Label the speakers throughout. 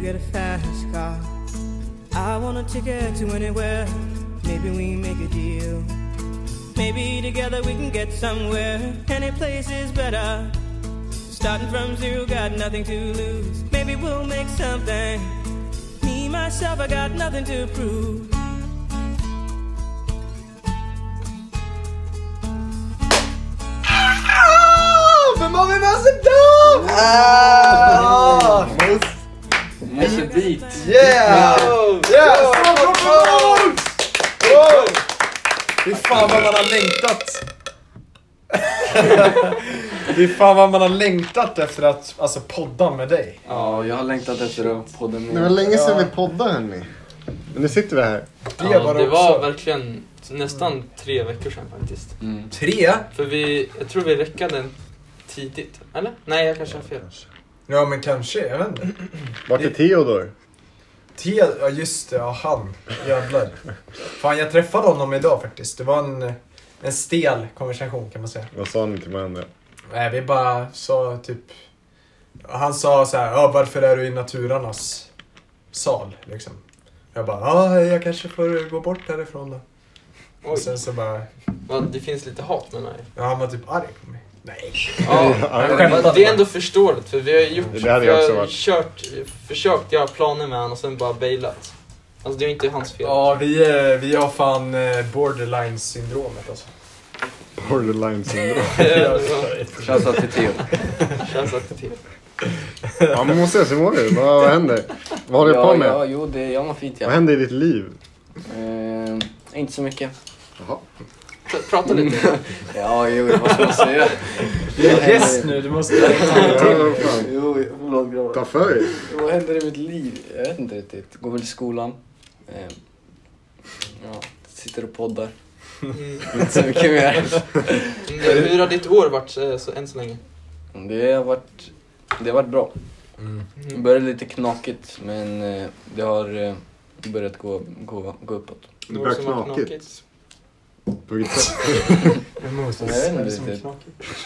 Speaker 1: get a fast car. I want a ticket to anywhere. Maybe we make a deal. Maybe together we can get somewhere. Any place is better. Starting from zero, got nothing to lose. Maybe we'll make something. Me, myself, I got nothing to prove.
Speaker 2: Men man vill med sig dem! Ah!
Speaker 3: Måste
Speaker 4: Mm.
Speaker 3: dit.
Speaker 2: Yeah! Yes! Applåd för Måns! Wow! Fy fan vad man har längtat. Fy fan vad man har längtat efter att alltså, podda med dig.
Speaker 3: Ja, jag har längtat efter att podda med.
Speaker 4: Det var länge sedan vi poddade hörni. Men nu sitter vi här.
Speaker 2: Det
Speaker 5: Ja,
Speaker 2: var det
Speaker 5: det
Speaker 2: också.
Speaker 5: var verkligen nästan tre veckor sedan faktiskt.
Speaker 3: Mm.
Speaker 6: Tre?
Speaker 5: För vi, jag tror vi räckade den tidigt, eller? Nej, jag kanske har fel.
Speaker 2: Ja men kanske, jag vet inte.
Speaker 4: Vart är Theodor?
Speaker 2: Tia, ja just det, ja han. Jävlar. Fan jag träffade honom idag faktiskt. Det var en, en stel konversation kan man säga.
Speaker 4: Vad sa ni till varandra?
Speaker 2: Nej, vi bara sa typ... Han sa så här, ja varför är du i naturarnas sal? Liksom. Jag bara, ja jag kanske får gå bort härifrån då. Och
Speaker 5: Oj,
Speaker 2: sen så bara,
Speaker 5: ja, det finns lite hat menar jag.
Speaker 2: ja han var typ arg på mig. Nej.
Speaker 5: Ja,
Speaker 2: jag skämtade
Speaker 5: det är
Speaker 2: bara.
Speaker 5: ändå förståeligt för vi har ju gjort,
Speaker 4: Det hade
Speaker 5: vi
Speaker 4: jag också
Speaker 5: har
Speaker 4: varit.
Speaker 5: kört, försökt göra planer med honom och sen bara bailat. Alltså det är ju inte hans fel.
Speaker 2: Ja, vi, eh, vi har fan eh, borderline-syndromet alltså.
Speaker 4: Borderline syndrom.
Speaker 5: Ja.
Speaker 3: Shoutout till Theo.
Speaker 5: Känns att det till.
Speaker 4: Ja men måste jag se hur mår du? Vad, vad händer? Vad håller du
Speaker 3: ja,
Speaker 4: på med?
Speaker 3: Ja, jo, det, jag mår fint
Speaker 4: Vad
Speaker 3: ja.
Speaker 4: händer i ditt liv?
Speaker 3: Eh, inte så mycket.
Speaker 4: Jaha.
Speaker 5: Pr- Prata lite.
Speaker 3: Ja, jo, vad ska man säga?
Speaker 2: Vi
Speaker 3: Vad
Speaker 2: är
Speaker 3: händer
Speaker 2: gäst
Speaker 3: i-
Speaker 2: nu, du måste...
Speaker 4: Ja, fan.
Speaker 3: Jo, förlåt grabbar.
Speaker 4: Ta för dig.
Speaker 3: Vad händer i mitt liv? Jag vet inte riktigt. Går väl i skolan. Eh, ja, sitter och poddar.
Speaker 5: Mm.
Speaker 3: Inte så mycket mer.
Speaker 5: Mm, Hur har ditt år varit eh, så, än så länge?
Speaker 3: Det har varit, det har varit bra. Det
Speaker 5: Mm.
Speaker 3: började lite knakigt men eh, det har eh, börjat gå, gå, gå uppåt.
Speaker 4: Det börjar knakigt. På vilket sätt?
Speaker 3: Jag vet inte riktigt.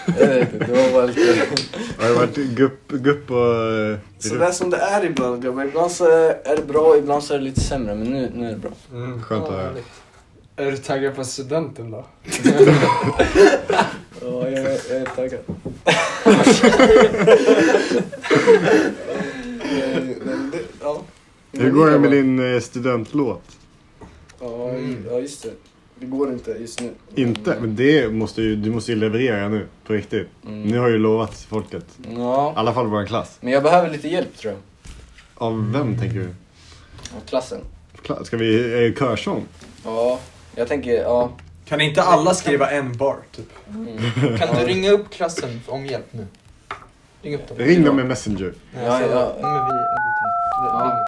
Speaker 3: Jag vet inte, det var bara lite...
Speaker 4: Har det varit gupp, gupp och... eh,
Speaker 3: Sådär som det är ibland grabbar. Ibland så är det bra, ibland så är det lite sämre men nu, nu är det bra.
Speaker 2: Mm.
Speaker 4: Skönt att höra.
Speaker 2: Är du taggad på studenten då?
Speaker 3: Ja, jag, jag är taggad. ja.
Speaker 4: Hur går det med din eh, studentlåt?
Speaker 3: Ja,
Speaker 5: Mm.
Speaker 3: ja, just det. Det går inte just nu.
Speaker 4: Inte? Men det måste ju, du måste ju leverera nu. På riktigt.
Speaker 3: Mm.
Speaker 4: Ni har ju lovat folket. I
Speaker 3: Ja,
Speaker 4: alla fall vår klass.
Speaker 3: men jag behöver lite hjälp tror jag.
Speaker 4: Av vem tänker du?
Speaker 3: Av klassen.
Speaker 4: Kla- Ska vi eh, körsång?
Speaker 3: Ja, jag tänker, ja. Mm.
Speaker 2: Kan inte alla skriva en bar typ?
Speaker 5: Kan du ringa upp klassen om hjälp nu? Ring upp dem.
Speaker 4: Ring dem med Messenger.
Speaker 5: Nej,
Speaker 3: Ja,
Speaker 5: så-
Speaker 3: ja.
Speaker 5: Nej, men vi...
Speaker 3: Ja.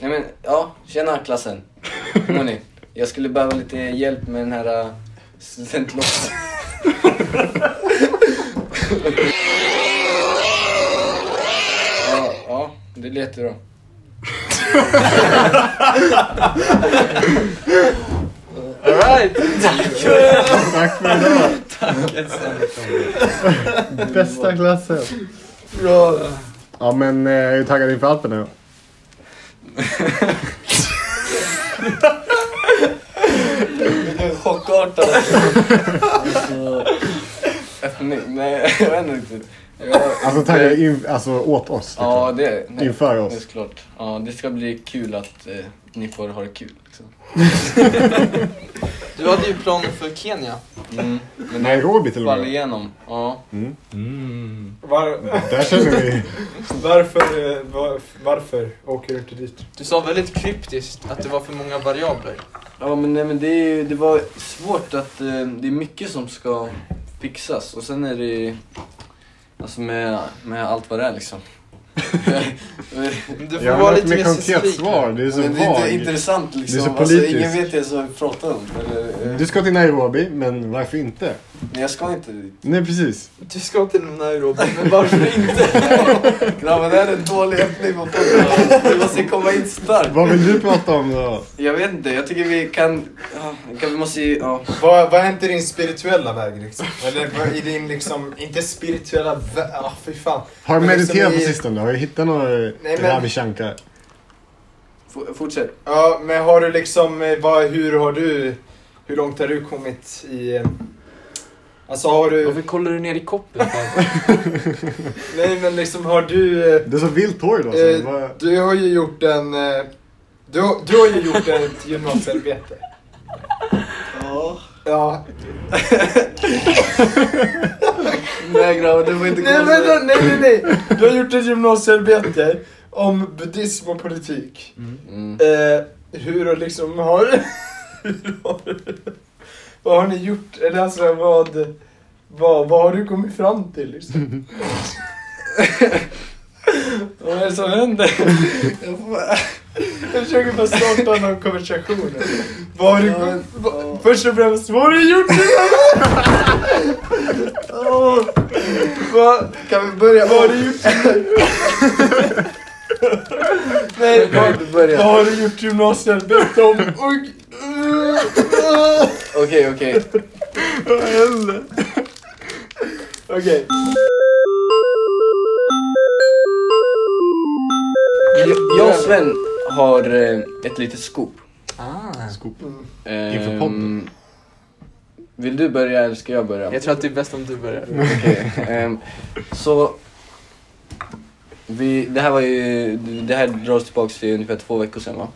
Speaker 3: Nej men, ja, tjena klassen. Hur mår ni? Jag skulle behöva lite hjälp med den här äh, studentlåten. ja, ja, det lät ju bra.
Speaker 5: Alright!
Speaker 4: Tack för idag! Bästa klassen! Ja men eh, jag är taggad inför Alperna. ja.
Speaker 3: Chockartad. Nej, nej, jag vet inte riktigt. Jag-
Speaker 4: Alltså taggad in, alltså, åt oss. liksom.
Speaker 3: Ja, det, nej,
Speaker 4: Inför
Speaker 3: det är
Speaker 4: oss.
Speaker 3: såklart. Ja, det ska bli kul att eh, ni får ha det kul. Liksom.
Speaker 5: Du hade ju planer för Kenya.
Speaker 3: Mm. Men det
Speaker 4: Nairobi till och
Speaker 3: faller
Speaker 4: med.
Speaker 3: igenom. Ja.
Speaker 2: Var,
Speaker 4: Där känner vi...
Speaker 2: varför, eh, var, varför åker du inte dit?
Speaker 5: Du sa väldigt kryptiskt att det var för många variabler.
Speaker 3: Ja men, nej, men det, är, ju- det var svårt att eh, det är mycket som ska fixas och sen är det alltså med, med allt vad det är liksom.
Speaker 5: Men Du får
Speaker 4: Jag
Speaker 5: vara
Speaker 4: har
Speaker 5: lite
Speaker 4: ett mer
Speaker 5: mer
Speaker 4: konkret
Speaker 5: specifik.
Speaker 4: svar. Det är så
Speaker 3: Men det är inte
Speaker 4: vag.
Speaker 3: intressant liksom.
Speaker 4: Det är så
Speaker 3: alltså,
Speaker 4: politiskt.
Speaker 3: ingen vet ens vad vi pratar om. Eller, eh,
Speaker 4: Du ska till Nairobi, men varför inte?
Speaker 3: Men jag ska inte dit.
Speaker 4: Nej precis.
Speaker 5: Du ska till Nairobi, men varför inte?
Speaker 3: Grabbar det här är en dålig öppning på podden. Vi måste komma in starkt.
Speaker 4: Vad vill du prata om då?
Speaker 3: Jag vet inte, jag tycker vi kan, ja, kan vi måste ju, ja.
Speaker 2: Vad, vad har hänt i din spirituella väg liksom? Eller vad, i din liksom, inte spirituella väg, ah fy fan.
Speaker 4: Har du
Speaker 2: Men liksom
Speaker 4: mediterat på
Speaker 2: i-
Speaker 4: sistone? Har du hittat några
Speaker 2: men-
Speaker 4: Ravi Shankar?
Speaker 3: F- fortsätt.
Speaker 2: Ja, men har du liksom, eh, vad, hur har du, hur långt har du kommit i... eh, Alltså har du,
Speaker 5: Varför kollar du ner i koppen?
Speaker 2: nej men liksom har du, eh,
Speaker 4: Det är så vilt hår idag.
Speaker 2: Eh,
Speaker 4: så bara-
Speaker 2: du har ju gjort en, eh, du, har- du har ju gjort ett gymnasiearbete.
Speaker 3: Ja.
Speaker 2: Ja.
Speaker 3: Nej grabbar, du får inte
Speaker 2: Nej,
Speaker 3: komma
Speaker 2: men,
Speaker 3: så-
Speaker 2: nej, nej, nej. Du har gjort ett gymnasiearbete om buddhism och politik.
Speaker 3: Mm.
Speaker 2: Eh, hur och liksom har... hur har vad har ni gjort? Eller alltså vad... Vad, vad har du kommit fram till liksom? vad är det som händer? Jag, får, jag försöker bara starta någon konversation. Vad har du...
Speaker 3: Ja,
Speaker 2: vad, först och främst, vad har du gjort? Åh, vad,
Speaker 3: Kan vi börja
Speaker 2: vad har du gjort? Nej,
Speaker 3: Kan vi
Speaker 2: vad,
Speaker 3: inte börja?
Speaker 2: vad har du gjort gymnasiearbete om? Och,
Speaker 3: Okej, okej.
Speaker 2: Okej.
Speaker 3: Jag och Sven har eh, ett litet scoop. Ah.
Speaker 4: Skop.
Speaker 3: Ehm,
Speaker 4: Inför podden.
Speaker 3: Vill du börja eller ska jag börja?
Speaker 5: Jag tror att det är bäst om du börjar.
Speaker 3: Okej, ehm, så... Vi, det här var ju, det här dras tillbaks till ungefär två veckor sedan va?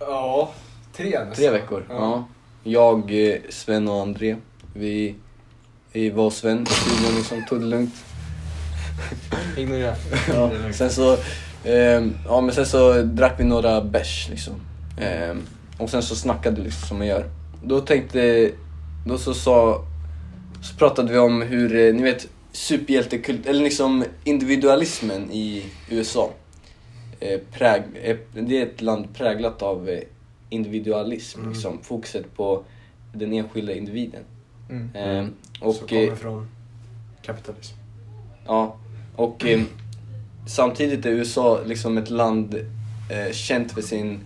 Speaker 2: Ja, tre nästan.
Speaker 3: Tre veckor? Ja. Jag, eh, Sven och André, vi, vi var hos Sven i studion liksom, tog det lugnt.
Speaker 5: Ignorera.
Speaker 3: Ja. Sen så, ehm, ja men sen så drack vi några bärs liksom. Ehm, och sen så snackade vi liksom som man gör. Då tänkte, då så sa, så pratade vi om hur, eh, ni vet superhjältekult, eller liksom individualismen i USA. Eh, präg, eh, det är ett land präglat av eh, individualism,
Speaker 2: Mm.
Speaker 3: liksom, fokuset på den enskilda individen.
Speaker 5: Mm.
Speaker 3: Ehm,
Speaker 2: Som
Speaker 3: och, eh,
Speaker 2: kommer från kapitalism.
Speaker 3: Ja, och eh, samtidigt är USA liksom ett land eh, känt för sin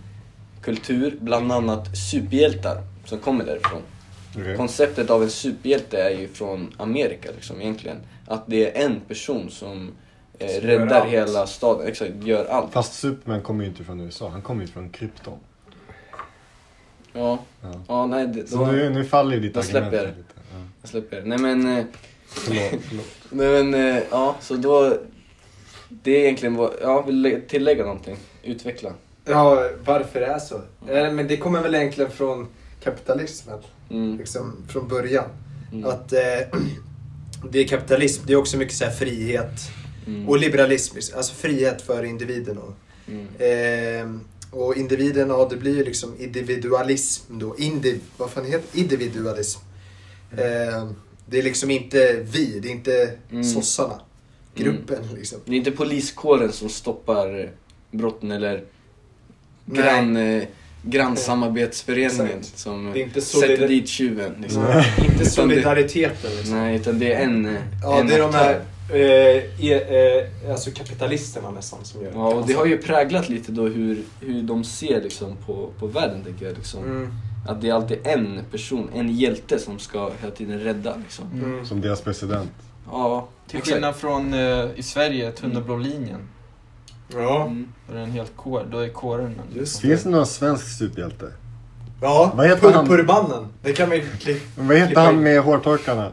Speaker 3: kultur, bland annat superhjältar som kommer därifrån.
Speaker 4: Okej.
Speaker 3: Konceptet av en superhjälte är ju från Amerika liksom egentligen. Att det är en person som eh,
Speaker 2: Som
Speaker 3: räddar
Speaker 2: gör allt.
Speaker 3: hela staden, exakt, gör allt.
Speaker 4: Fast Superman kommer ju inte från USA, han kommer ju från krypton.
Speaker 3: Ja,
Speaker 4: Ja.
Speaker 3: ja nej, det,
Speaker 4: Så
Speaker 3: då,
Speaker 4: nu, nu faller ju ditt
Speaker 3: då släpper
Speaker 4: argument
Speaker 3: jag det.
Speaker 4: lite. Ja.
Speaker 3: jag släpper. Nej men, eh,
Speaker 4: Förlåt, förlåt.
Speaker 3: nej men, eh, ja, så då, det är egentligen vad, ja, vill lä- tillägga någonting? Utveckla.
Speaker 2: Ja, varför det är så? Eh, Men det kommer väl egentligen från kapitalismen,
Speaker 3: Mm.
Speaker 2: liksom från början.
Speaker 3: Mm.
Speaker 2: Att eh, det är kapitalism, det är också mycket så här frihet
Speaker 3: Mm.
Speaker 2: och liberalism, alltså frihet för individen. Och,
Speaker 3: Mm.
Speaker 2: Ehm, och individen, ja det blir ju liksom individualism då. Indiv, vad fan heter Individualism. Ehm, det är liksom inte vi, det är inte
Speaker 3: Mm.
Speaker 2: sossarna. Gruppen liksom.
Speaker 3: Det är inte poliskåren som stoppar eh, brotten eller
Speaker 2: Nej.
Speaker 3: grann, eh, grannsamarbetsföreningen
Speaker 2: Exakt.
Speaker 3: som
Speaker 2: Det är inte
Speaker 3: eh, sätter
Speaker 2: solidar-
Speaker 3: dit tjuven. Liksom.
Speaker 2: Inte
Speaker 3: Utan det,
Speaker 2: solidariteten liksom.
Speaker 3: nej, utan det är en eh,
Speaker 2: Ja,
Speaker 3: en
Speaker 2: det är de
Speaker 3: aktör.
Speaker 2: här eh, e, eh, alltså kapitalisterna nästan som gör
Speaker 3: Ja, och det har ju präglat lite då hur, hur de ser liksom, på, på världen, tänker jag. Liksom.
Speaker 2: Mm.
Speaker 3: Att det är alltid en person, en hjälte som ska hela tiden rädda. Liksom.
Speaker 2: Mm.
Speaker 4: Som deras president.
Speaker 3: Ja,
Speaker 5: Till
Speaker 3: exakt.
Speaker 5: skillnad från eh, i Sverige, Tunnablå linjen.
Speaker 2: Ja.
Speaker 3: Mm.
Speaker 5: Då är det en hel kår, då är kåren en-
Speaker 2: Just
Speaker 4: Finns det någon svensk superhjälte?
Speaker 2: Ja,
Speaker 4: Vad heter han?
Speaker 2: Purpurmannen. Det kan man ju klippa.
Speaker 4: Vad heter han med hårtorkarna?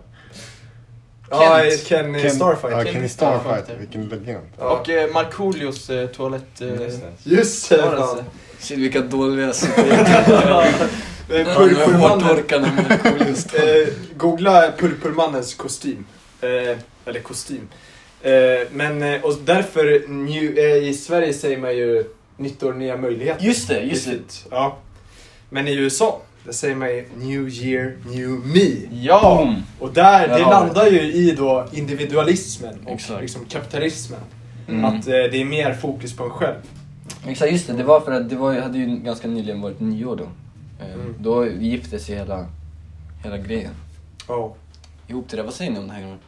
Speaker 2: Ja,
Speaker 5: Kent.
Speaker 2: Kenny
Speaker 4: Ken-
Speaker 2: Starfighter.
Speaker 4: Ja,
Speaker 5: Kenny
Speaker 4: Kenny Starfighter.
Speaker 5: Starfighter.
Speaker 4: Vilken legend.
Speaker 2: Ja.
Speaker 5: Och eh, Markoolios eh, toalett... Eh,
Speaker 6: Just det.
Speaker 2: Just det, fan.
Speaker 5: varelse.
Speaker 3: Shit vilka dåliga superhjältar.
Speaker 2: Eh,
Speaker 3: Fan, de här
Speaker 2: Purpurmannen.
Speaker 3: hårtorkarna med coolast.
Speaker 2: Eh, googla Purpurmannens kostym. Eh, eller kostym. Eh, men, eh, och därför new, eh, i Sverige säger man ju nytt år, nya möjligheter.
Speaker 3: Just det, just
Speaker 2: Det är
Speaker 3: det.
Speaker 2: fint. Ja. Men i USA, där säger man ju new year, new me.
Speaker 5: Ja!
Speaker 3: Boom.
Speaker 2: Och där,
Speaker 3: Där
Speaker 2: det
Speaker 3: har
Speaker 2: landar ju i då individualismen och
Speaker 3: Exakt.
Speaker 2: liksom kapitalismen.
Speaker 3: Mm.
Speaker 2: Att eh, det är mer fokus på en själv.
Speaker 3: Exakt, just det. Det var för att det var, ju- hade ju ganska nyligen varit nyår då. Eh,
Speaker 2: Mm.
Speaker 3: Då gifte sig hela, hela grejen
Speaker 2: Ja.
Speaker 3: ihop till det. Vad säger ni om det här? grabbar?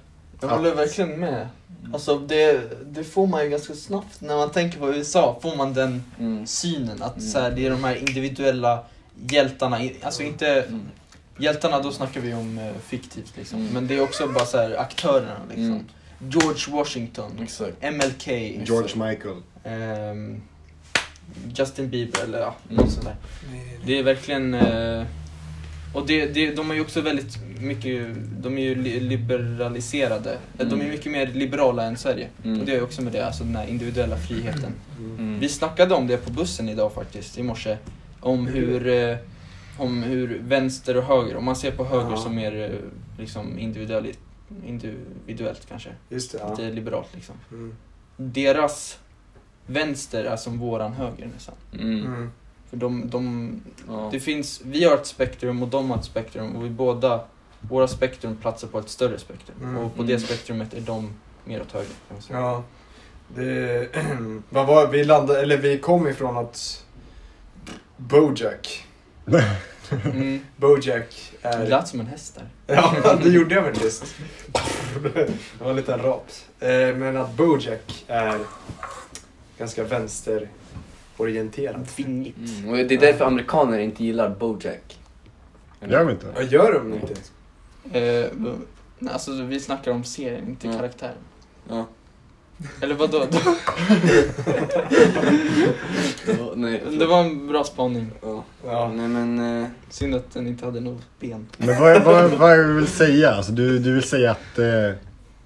Speaker 5: Jag håller verkligen med. Alltså det, det får man ju ganska snabbt när man tänker på USA, får man den
Speaker 3: Mm.
Speaker 5: synen att
Speaker 3: Mm.
Speaker 5: så här, det är de här individuella hjältarna. I- Alltså inte
Speaker 3: Mm.
Speaker 5: hjältarna, då snackar vi om eh, fiktivt liksom.
Speaker 3: Mm.
Speaker 5: Men det är också bara så här aktörerna liksom.
Speaker 3: Mm.
Speaker 5: George Washington,
Speaker 3: Exakt.
Speaker 5: MLK,
Speaker 4: George Michael.
Speaker 5: ehm, Justin Bieber eller ja,
Speaker 3: Mm.
Speaker 5: något sånt där. Det är verkligen... eh, Och det, det, de är ju också väldigt mycket... De är ju li- liberaliserade. Eh, De är
Speaker 3: Mm.
Speaker 5: mycket mer liberala än Sverige.
Speaker 3: Mm.
Speaker 5: Och det är ju också med det, alltså den här individuella friheten.
Speaker 3: Mm.
Speaker 5: Vi snackade om det på bussen idag faktiskt, i morse. Om hur, eh, om hur vänster och höger, om man ser på höger
Speaker 2: Ja.
Speaker 5: som mer eh, liksom individuellt, individuellt kanske.
Speaker 2: Just det, ja.
Speaker 5: Lite liberalt liksom.
Speaker 2: Mm.
Speaker 5: Deras vänster är som våran höger nästan.
Speaker 3: Mm.
Speaker 2: Mm.
Speaker 5: För de, de,
Speaker 3: Ja.
Speaker 5: det finns, vi har ett spektrum och de har ett spektrum och vi båda, våra spektrum platsar på ett större spektrum.
Speaker 2: Mm.
Speaker 5: Och på det
Speaker 3: Mm.
Speaker 5: spektrumet är de mer åt höger. kan man säga.
Speaker 2: Ja. Det, vad var, vi, landade, eller vi kom ifrån att Bojack.
Speaker 5: Mm.
Speaker 2: Bojack
Speaker 5: Det
Speaker 2: är...
Speaker 5: lät som en häst där.
Speaker 2: Ja, det gjorde jag faktiskt. Det var en liten rap. Eh, Men att Bojack är ganska vänsterorienterad.
Speaker 5: Vingligt.
Speaker 3: Mm. Och det är därför amerikaner inte gillar Bojack.
Speaker 4: Gör vi inte?
Speaker 2: Ja, gör de inte?
Speaker 5: Eh, nej, alltså vi snackar om serien, inte
Speaker 3: Ja.
Speaker 5: karaktären.
Speaker 3: Ja.
Speaker 5: Eller vadå?
Speaker 3: Ja, Nej,
Speaker 5: det var en bra spaning.
Speaker 3: Ja.
Speaker 2: Ja.
Speaker 3: Nej men... eh,
Speaker 5: Synd att den inte hade något ben.
Speaker 4: Men vad, vad, vad är det du vill säga? Alltså, du, du vill säga att eh,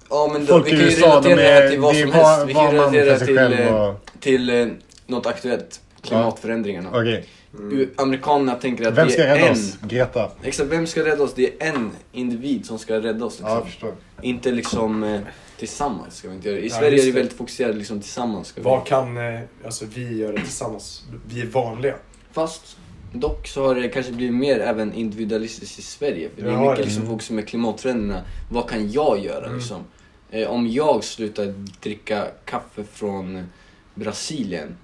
Speaker 3: Ja men då,
Speaker 4: folk
Speaker 3: vi
Speaker 4: i
Speaker 3: kan ju
Speaker 4: USA, de
Speaker 3: relatera det här
Speaker 4: är,
Speaker 3: till vad
Speaker 4: det är
Speaker 3: som
Speaker 4: va-
Speaker 3: helst. Vi kan
Speaker 4: vad
Speaker 3: ju
Speaker 4: man
Speaker 3: relatera
Speaker 4: för sig
Speaker 3: till,
Speaker 4: själv
Speaker 3: eh,
Speaker 4: och...
Speaker 3: till eh, något aktuellt. Klimatförändringarna.
Speaker 4: Okej,
Speaker 2: Mm.
Speaker 3: U- Amerikanerna tänker att
Speaker 4: vem
Speaker 3: det
Speaker 4: ska
Speaker 3: är
Speaker 4: rädda
Speaker 3: en...
Speaker 4: oss? Greta?
Speaker 3: Exakt, vem ska rädda oss? Det är en individ som ska rädda oss.
Speaker 4: Ja, jag
Speaker 3: Liksom.
Speaker 4: förstår.
Speaker 3: Inte liksom eh, tillsammans ska vi inte göra det. I
Speaker 2: Ja,
Speaker 3: Sverige
Speaker 2: just
Speaker 3: är vi
Speaker 2: det.
Speaker 3: väldigt fokuserade liksom tillsammans. Ska vi.
Speaker 2: Vad kan eh, alltså, vi göra tillsammans? Vi är vanliga.
Speaker 3: Fast dock så har det kanske blivit mer även individualistiskt i Sverige. För det är
Speaker 2: Ja,
Speaker 3: mycket
Speaker 2: det-
Speaker 3: liksom,
Speaker 2: mm.
Speaker 3: fokus med klimatförändringarna. Vad kan jag göra
Speaker 2: Mm.
Speaker 3: liksom? Eh, om jag slutar dricka kaffe från Brasilien,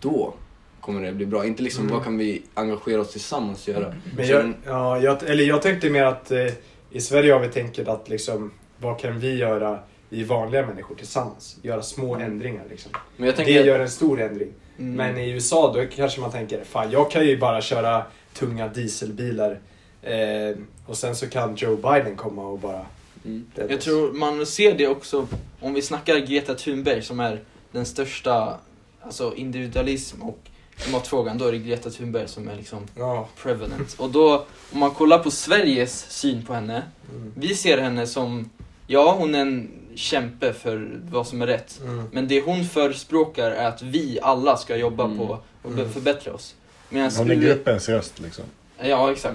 Speaker 3: då kommer det bli bra. Inte liksom
Speaker 2: Mm.
Speaker 3: vad kan vi engagera oss tillsammans göra.
Speaker 2: Men
Speaker 3: Så
Speaker 2: jag,
Speaker 3: den-
Speaker 2: ja, jag, eller jag tänkte mer att eh, i Sverige har vi tänkt att liksom, vad kan vi göra, vi vanliga människor tillsammans? Göra små ändringar liksom.
Speaker 3: Men jag
Speaker 2: Det
Speaker 3: tänker att,
Speaker 2: gör en stor ändring.
Speaker 5: Mm.
Speaker 2: Men i USA då kanske man tänker, fan jag kan ju bara köra tunga dieselbilar eh, och sen så kan Joe Biden komma och bara...
Speaker 3: Mm.
Speaker 2: rädda
Speaker 5: Jag
Speaker 2: oss.
Speaker 5: tror man ser det också om vi snackar Greta Thunberg som är den största alltså individualism och klimatfrågan. Då är det Greta Thunberg som är liksom
Speaker 2: Ja.
Speaker 5: prevalent. Och då, om man kollar på Sveriges syn på henne.
Speaker 2: Mm.
Speaker 5: Vi ser henne som, ja hon är en kämpe för vad som är rätt.
Speaker 2: Mm.
Speaker 5: Men det hon förespråkar är att vi alla ska jobba
Speaker 3: Mm.
Speaker 5: på och be-
Speaker 2: Mm.
Speaker 5: förbättra oss. Medan
Speaker 4: Hon är
Speaker 5: U-
Speaker 4: gruppens röst liksom.
Speaker 5: Ja, exakt.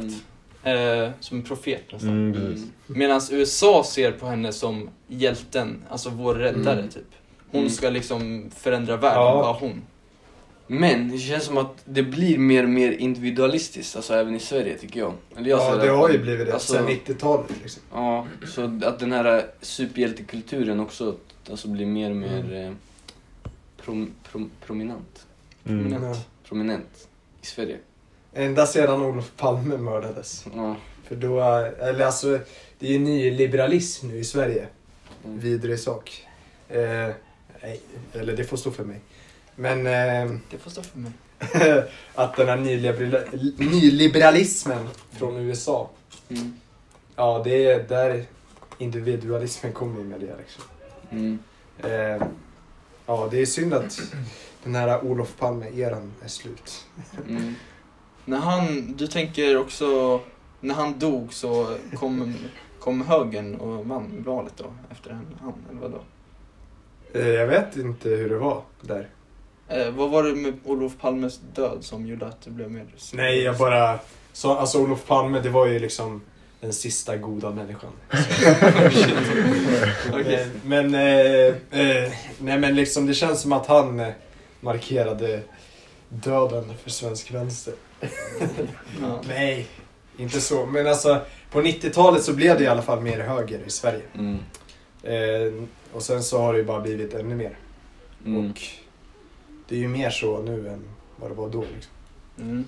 Speaker 3: Mm.
Speaker 5: Eh, som en profet nästan.
Speaker 4: Mm, precis.
Speaker 3: Mm.
Speaker 5: Medan USA ser på henne som hjälten, alltså vår räddare
Speaker 3: Mm.
Speaker 5: typ. Hon
Speaker 3: Mm.
Speaker 5: ska liksom förändra världen,
Speaker 2: Ja.
Speaker 5: bara hon.
Speaker 3: Men det känns som att det blir mer och mer individualistiskt, alltså även i Sverige tycker jag. Eller jag
Speaker 2: Ja,
Speaker 3: ser
Speaker 2: det har ju blivit det
Speaker 3: Alltså-
Speaker 2: sen 90-talet liksom.
Speaker 3: Ja, så att den här superhjältekulturen också alltså, blir mer och mer eh, prom, prom, prominent.
Speaker 4: Mm.
Speaker 5: Men-
Speaker 2: Ja.
Speaker 3: prominent i Sverige.
Speaker 2: Ända sedan Olof Palme mördades.
Speaker 3: Ja,
Speaker 2: För då, eller alltså, det är ju nyliberalism nu i Sverige.
Speaker 3: Mm.
Speaker 2: Vidrig sak. Eh, nej, eller det får stå för mig. Men eh,
Speaker 5: Det får stå för mig.
Speaker 2: att den här nyliberala, nyliberalismen från USA,
Speaker 3: mm.
Speaker 2: ja det är där individualismen kommer in med det liksom.
Speaker 3: Mm.
Speaker 2: Eh, ja, det är synd att den här Olof Palme-eran är slut.
Speaker 3: Mm.
Speaker 5: När han, du tänker också, när han dog så kom, kom högern och vann valet då efter han, eller vadå?
Speaker 2: Eh, jag vet inte hur det var där.
Speaker 5: Eh, vad var det med Olof Palmes död som gjorde att det blev mer...
Speaker 2: Nej, jag bara... Så, alltså Olof Palme, det var ju liksom den sista goda människan.
Speaker 5: Okej.
Speaker 2: Men, men, eh, eh, nej men liksom det känns som att han eh, markerade döden för svensk vänster.
Speaker 5: Ja.
Speaker 2: Nej, inte så. Men alltså på 90-talet så blev det i alla fall mer höger i Sverige.
Speaker 3: Mm.
Speaker 2: Eh, och sen så har det ju bara blivit ännu mer.
Speaker 3: Mm.
Speaker 2: Och det är ju mer så nu än vad det var då. Liksom.
Speaker 5: Mm.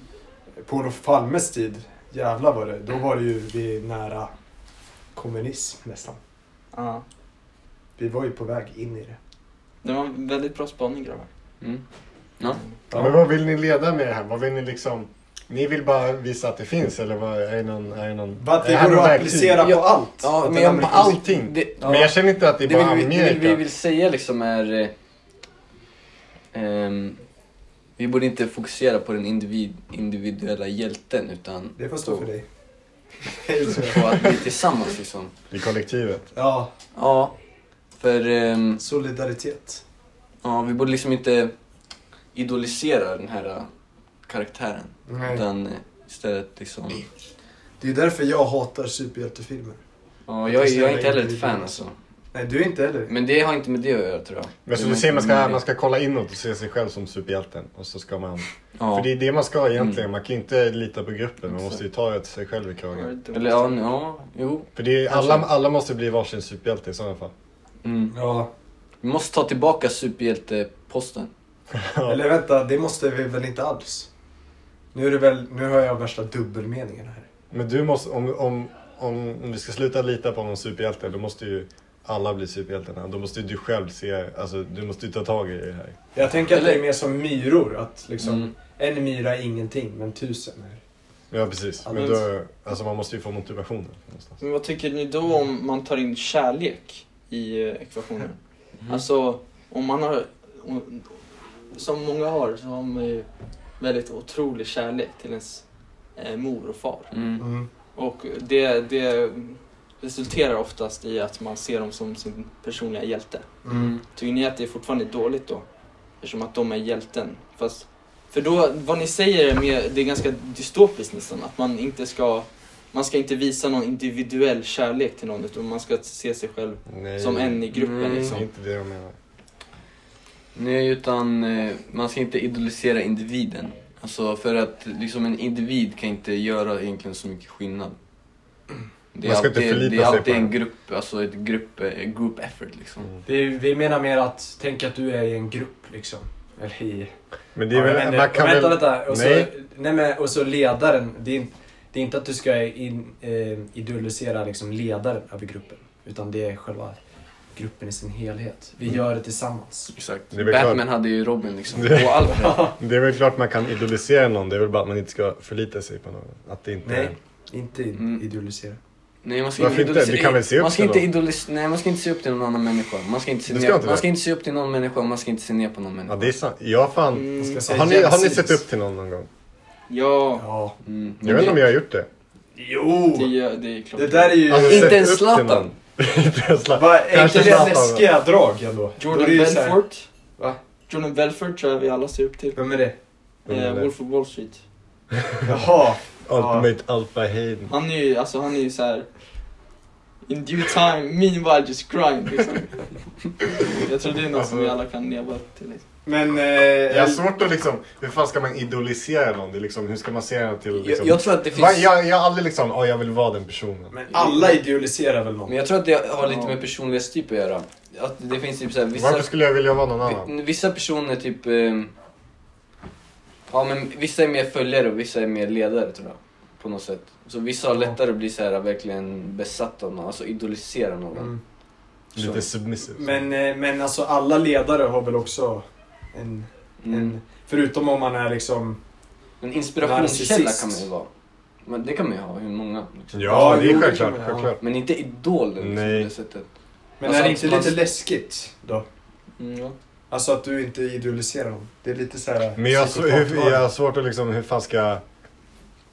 Speaker 2: På Olof Palmes tid, jävlar var det, då var det ju vi nära kommunism nästan.
Speaker 5: Ja.
Speaker 2: Vi var ju på väg in i det.
Speaker 5: Det var en väldigt bra spaning grabbar.
Speaker 3: Mm. Ja.
Speaker 4: Ja, men vad vill ni leda med det här? Vad vill ni liksom... Ni vill bara visa att det finns eller vad, är det någon... Är det någon
Speaker 2: Bara att det
Speaker 4: är här
Speaker 2: går
Speaker 4: någon
Speaker 2: att
Speaker 4: verktyg?
Speaker 2: applicera på allt.
Speaker 3: Ja,
Speaker 2: Att
Speaker 3: men
Speaker 2: den
Speaker 3: jag,
Speaker 2: amerikanska-
Speaker 3: allting. Det,
Speaker 4: Men jag känner inte att det är
Speaker 3: Det
Speaker 4: bara
Speaker 3: vi, vi,
Speaker 4: Amerika.
Speaker 3: vi vill säga liksom är... Eh, ehm, Vi borde inte fokusera på den individ, individuella hjälten utan
Speaker 2: Det får stå för dig.
Speaker 3: på att vi tillsammans liksom.
Speaker 4: I kollektivet.
Speaker 2: Ja,
Speaker 3: Ja, för ehm,
Speaker 2: solidaritet.
Speaker 3: ja, vi borde liksom inte idolisera den här eh, karaktären. Utan eh, istället liksom...
Speaker 2: Det är därför jag hatar superhjältefilmer.
Speaker 3: Ja, jag, jag är inte heller ett fan alltså.
Speaker 2: Nej, du är inte heller.
Speaker 3: Men det har inte med det att göra tror jag.
Speaker 4: Men så
Speaker 3: Det
Speaker 4: du
Speaker 3: har
Speaker 4: säger man
Speaker 3: inte
Speaker 4: ska,
Speaker 3: med-
Speaker 4: man ska kolla inåt och se sig själv som superhjälten. Och så ska man...
Speaker 3: Ja. Mm.
Speaker 4: För det är det man ska egentligen. Man kan ju inte lita på gruppen. Man måste ju ta ett sig själv i kragen.
Speaker 3: Eller ja, nu- ja, jo.
Speaker 4: För det är, alla, alla måste bli varsin superhjälte i sådana fall.
Speaker 3: Mm.
Speaker 2: Ja,
Speaker 3: Vi måste ta tillbaka superhjälteposten.
Speaker 2: eller vänta, det måste vi väl inte alls? Nu, är det väl, nu har jag värsta dubbelmeningen här.
Speaker 4: Men du måste, om, om, om, om vi ska sluta lita på någon superhjälte, då måste ju alla bli superhjältarna. Då måste ju du själv se, alltså du måste ju ta tag i det här.
Speaker 2: Jag tänker att det är
Speaker 3: Eller-
Speaker 2: mer som myror, att liksom
Speaker 3: Mm.
Speaker 2: en myra är ingenting, men tusen är...
Speaker 4: Ja precis, men då, alltså man måste ju få motivationen. någonstans.
Speaker 5: Men vad tycker ni då om man tar in kärlek i eh, ekvationen? Alltså, om man har... Om, som många har, så har man ju väldigt otrolig kärlek till ens eh, mor och far.
Speaker 3: Mm.
Speaker 5: Och det, det resulterar oftast i att man ser dem som sin personliga hjälte.
Speaker 2: Mm.
Speaker 5: Tycker ni att det fortfarande är dåligt då? Eftersom att de är hjälten. Fast, för då, vad ni säger är, mer, det är ganska dystopiskt nästan. Att man inte ska, man ska inte visa någon individuell kärlek till någon utan man ska se sig själv
Speaker 4: Nej,
Speaker 5: som en i gruppen
Speaker 3: Mm.
Speaker 4: det är
Speaker 5: liksom.
Speaker 4: inte det jag menar.
Speaker 3: Nej, utan eh, man ska inte idolisera individen. Alltså för att liksom en individ kan inte göra egentligen så mycket skillnad. Det är
Speaker 4: Man ska inte
Speaker 3: alltid,
Speaker 4: förlita
Speaker 3: det är
Speaker 4: sig på
Speaker 3: alltid en
Speaker 4: den.
Speaker 3: grupp, alltså ett grupp, eh, group effort liksom.
Speaker 4: Mm.
Speaker 2: Vi, vi menar mer att, tänk att du är i en grupp liksom. Eller i...
Speaker 4: Men det
Speaker 2: Ja,
Speaker 4: är
Speaker 2: men,
Speaker 4: väl, man kan
Speaker 2: vänta,
Speaker 4: väl...
Speaker 2: vänta. Och så, nej.
Speaker 4: Nej.
Speaker 2: men, och så ledaren. Det är, in- det är inte att du ska in, eh, idealisera liksom ledaren över gruppen. Utan det är själva gruppen i sin helhet. Vi gör det tillsammans.
Speaker 3: Exakt.
Speaker 4: Det är väl
Speaker 3: Batman
Speaker 4: klart.
Speaker 3: hade ju Robin liksom,
Speaker 4: Det-
Speaker 3: och Alfred.
Speaker 4: Det är väl klart man kan idolisera någon, det är väl bara att man inte ska förlita sig på någon. Att det inte...
Speaker 2: Nej, inte i-
Speaker 3: Mm.
Speaker 2: idealisera.
Speaker 3: Nej, man ska
Speaker 4: Varför inte?
Speaker 3: idolisera-
Speaker 4: Du kan väl se upp
Speaker 3: man ska
Speaker 4: till
Speaker 3: inte
Speaker 4: dem?
Speaker 3: idolis- Nej, man ska inte se upp till någon annan människa. Man ska inte se,
Speaker 4: Du
Speaker 3: ner-
Speaker 4: ska inte
Speaker 3: man
Speaker 4: det?
Speaker 3: ska inte se upp till någon människa och man ska inte se ner på någon människa.
Speaker 4: Ja det är sant. Jag fan...
Speaker 5: Mm,
Speaker 2: Ska jag säga
Speaker 4: Har ni, har ni
Speaker 2: jämsides?
Speaker 4: sett upp till någon någon gång?
Speaker 5: ja,
Speaker 2: Ja.
Speaker 3: Mm.
Speaker 4: Jag vet inte om jag har gjort det.
Speaker 2: Jo!
Speaker 5: det, gör- det är klart.
Speaker 2: Det där är ju...
Speaker 4: Alltså,
Speaker 3: Inte
Speaker 4: sett
Speaker 3: ens
Speaker 4: upp till
Speaker 3: Zlatan.
Speaker 4: någon. Inte ens Zlatan.
Speaker 2: Vad är inte
Speaker 4: Kanske
Speaker 2: det
Speaker 4: Zlatan,
Speaker 2: läskiga drag ändå? Då
Speaker 5: Jordan
Speaker 2: är det ju så här-
Speaker 5: Belfort.
Speaker 2: Va?
Speaker 5: Jordan Belfort tror jag vi alla ser upp till.
Speaker 2: Vem är det?
Speaker 4: Vem är
Speaker 5: Eh,
Speaker 4: det?
Speaker 5: Wolf of Wall Street.
Speaker 2: Jaha.
Speaker 4: Ultimate Alpha Hayden.
Speaker 5: Han är ju, alltså han är ju så här. In due time, meanwhile just grind liksom. Jag tror det är något som vi alla kan leva upp till. Liksom.
Speaker 2: Men... Eh,
Speaker 4: Jag har svårt att liksom, hur fan ska man idolisera någon? Det är liksom, hur ska man se den till
Speaker 3: Jag,
Speaker 4: liksom...
Speaker 3: jag tror att det
Speaker 4: Va,
Speaker 3: finns...
Speaker 4: jag, jag har aldrig liksom, ja jag vill vara den personen.
Speaker 2: men alla idealiserar väl någon?
Speaker 3: Men jag tror att det har lite med personlighetstyp att göra. Att det finns typ såhär vissa...
Speaker 4: Varför skulle jag vilja vara någon
Speaker 2: Ah.
Speaker 4: annan?
Speaker 3: vi- Vissa personer typ... ehm, Ja men vissa är mer följare och vissa är mer ledare tror jag. På något sätt. Så vissa har lättare att bli så här verkligen besatt av någon, alltså idolisera någon.
Speaker 2: Mm.
Speaker 3: Så.
Speaker 4: Lite submissive.
Speaker 2: Men, eh, men alltså alla ledare har väl också en,
Speaker 3: Mm.
Speaker 2: en... Förutom om man är liksom...
Speaker 3: En inspirationskälla
Speaker 2: Narcissist.
Speaker 3: kan man ju vara. Men det kan man ju ha, hur många. Liksom.
Speaker 4: Ja,
Speaker 2: Ja,
Speaker 4: det
Speaker 2: jo,
Speaker 4: är
Speaker 2: det
Speaker 4: självklart.
Speaker 2: kan man-
Speaker 4: självklart.
Speaker 3: Men inte idoler liksom,
Speaker 4: Nej.
Speaker 3: på det sättet.
Speaker 2: Men
Speaker 3: Alltså
Speaker 2: är det
Speaker 3: att
Speaker 2: inte
Speaker 3: man-
Speaker 2: lite läskigt då?
Speaker 5: Mm, ja.
Speaker 2: Alltså att du inte idealiserar dem. Det är lite så här...
Speaker 4: Men jag, har sv- hur,
Speaker 2: psykopatvarning.
Speaker 4: jag har svårt att liksom, hur fan ska...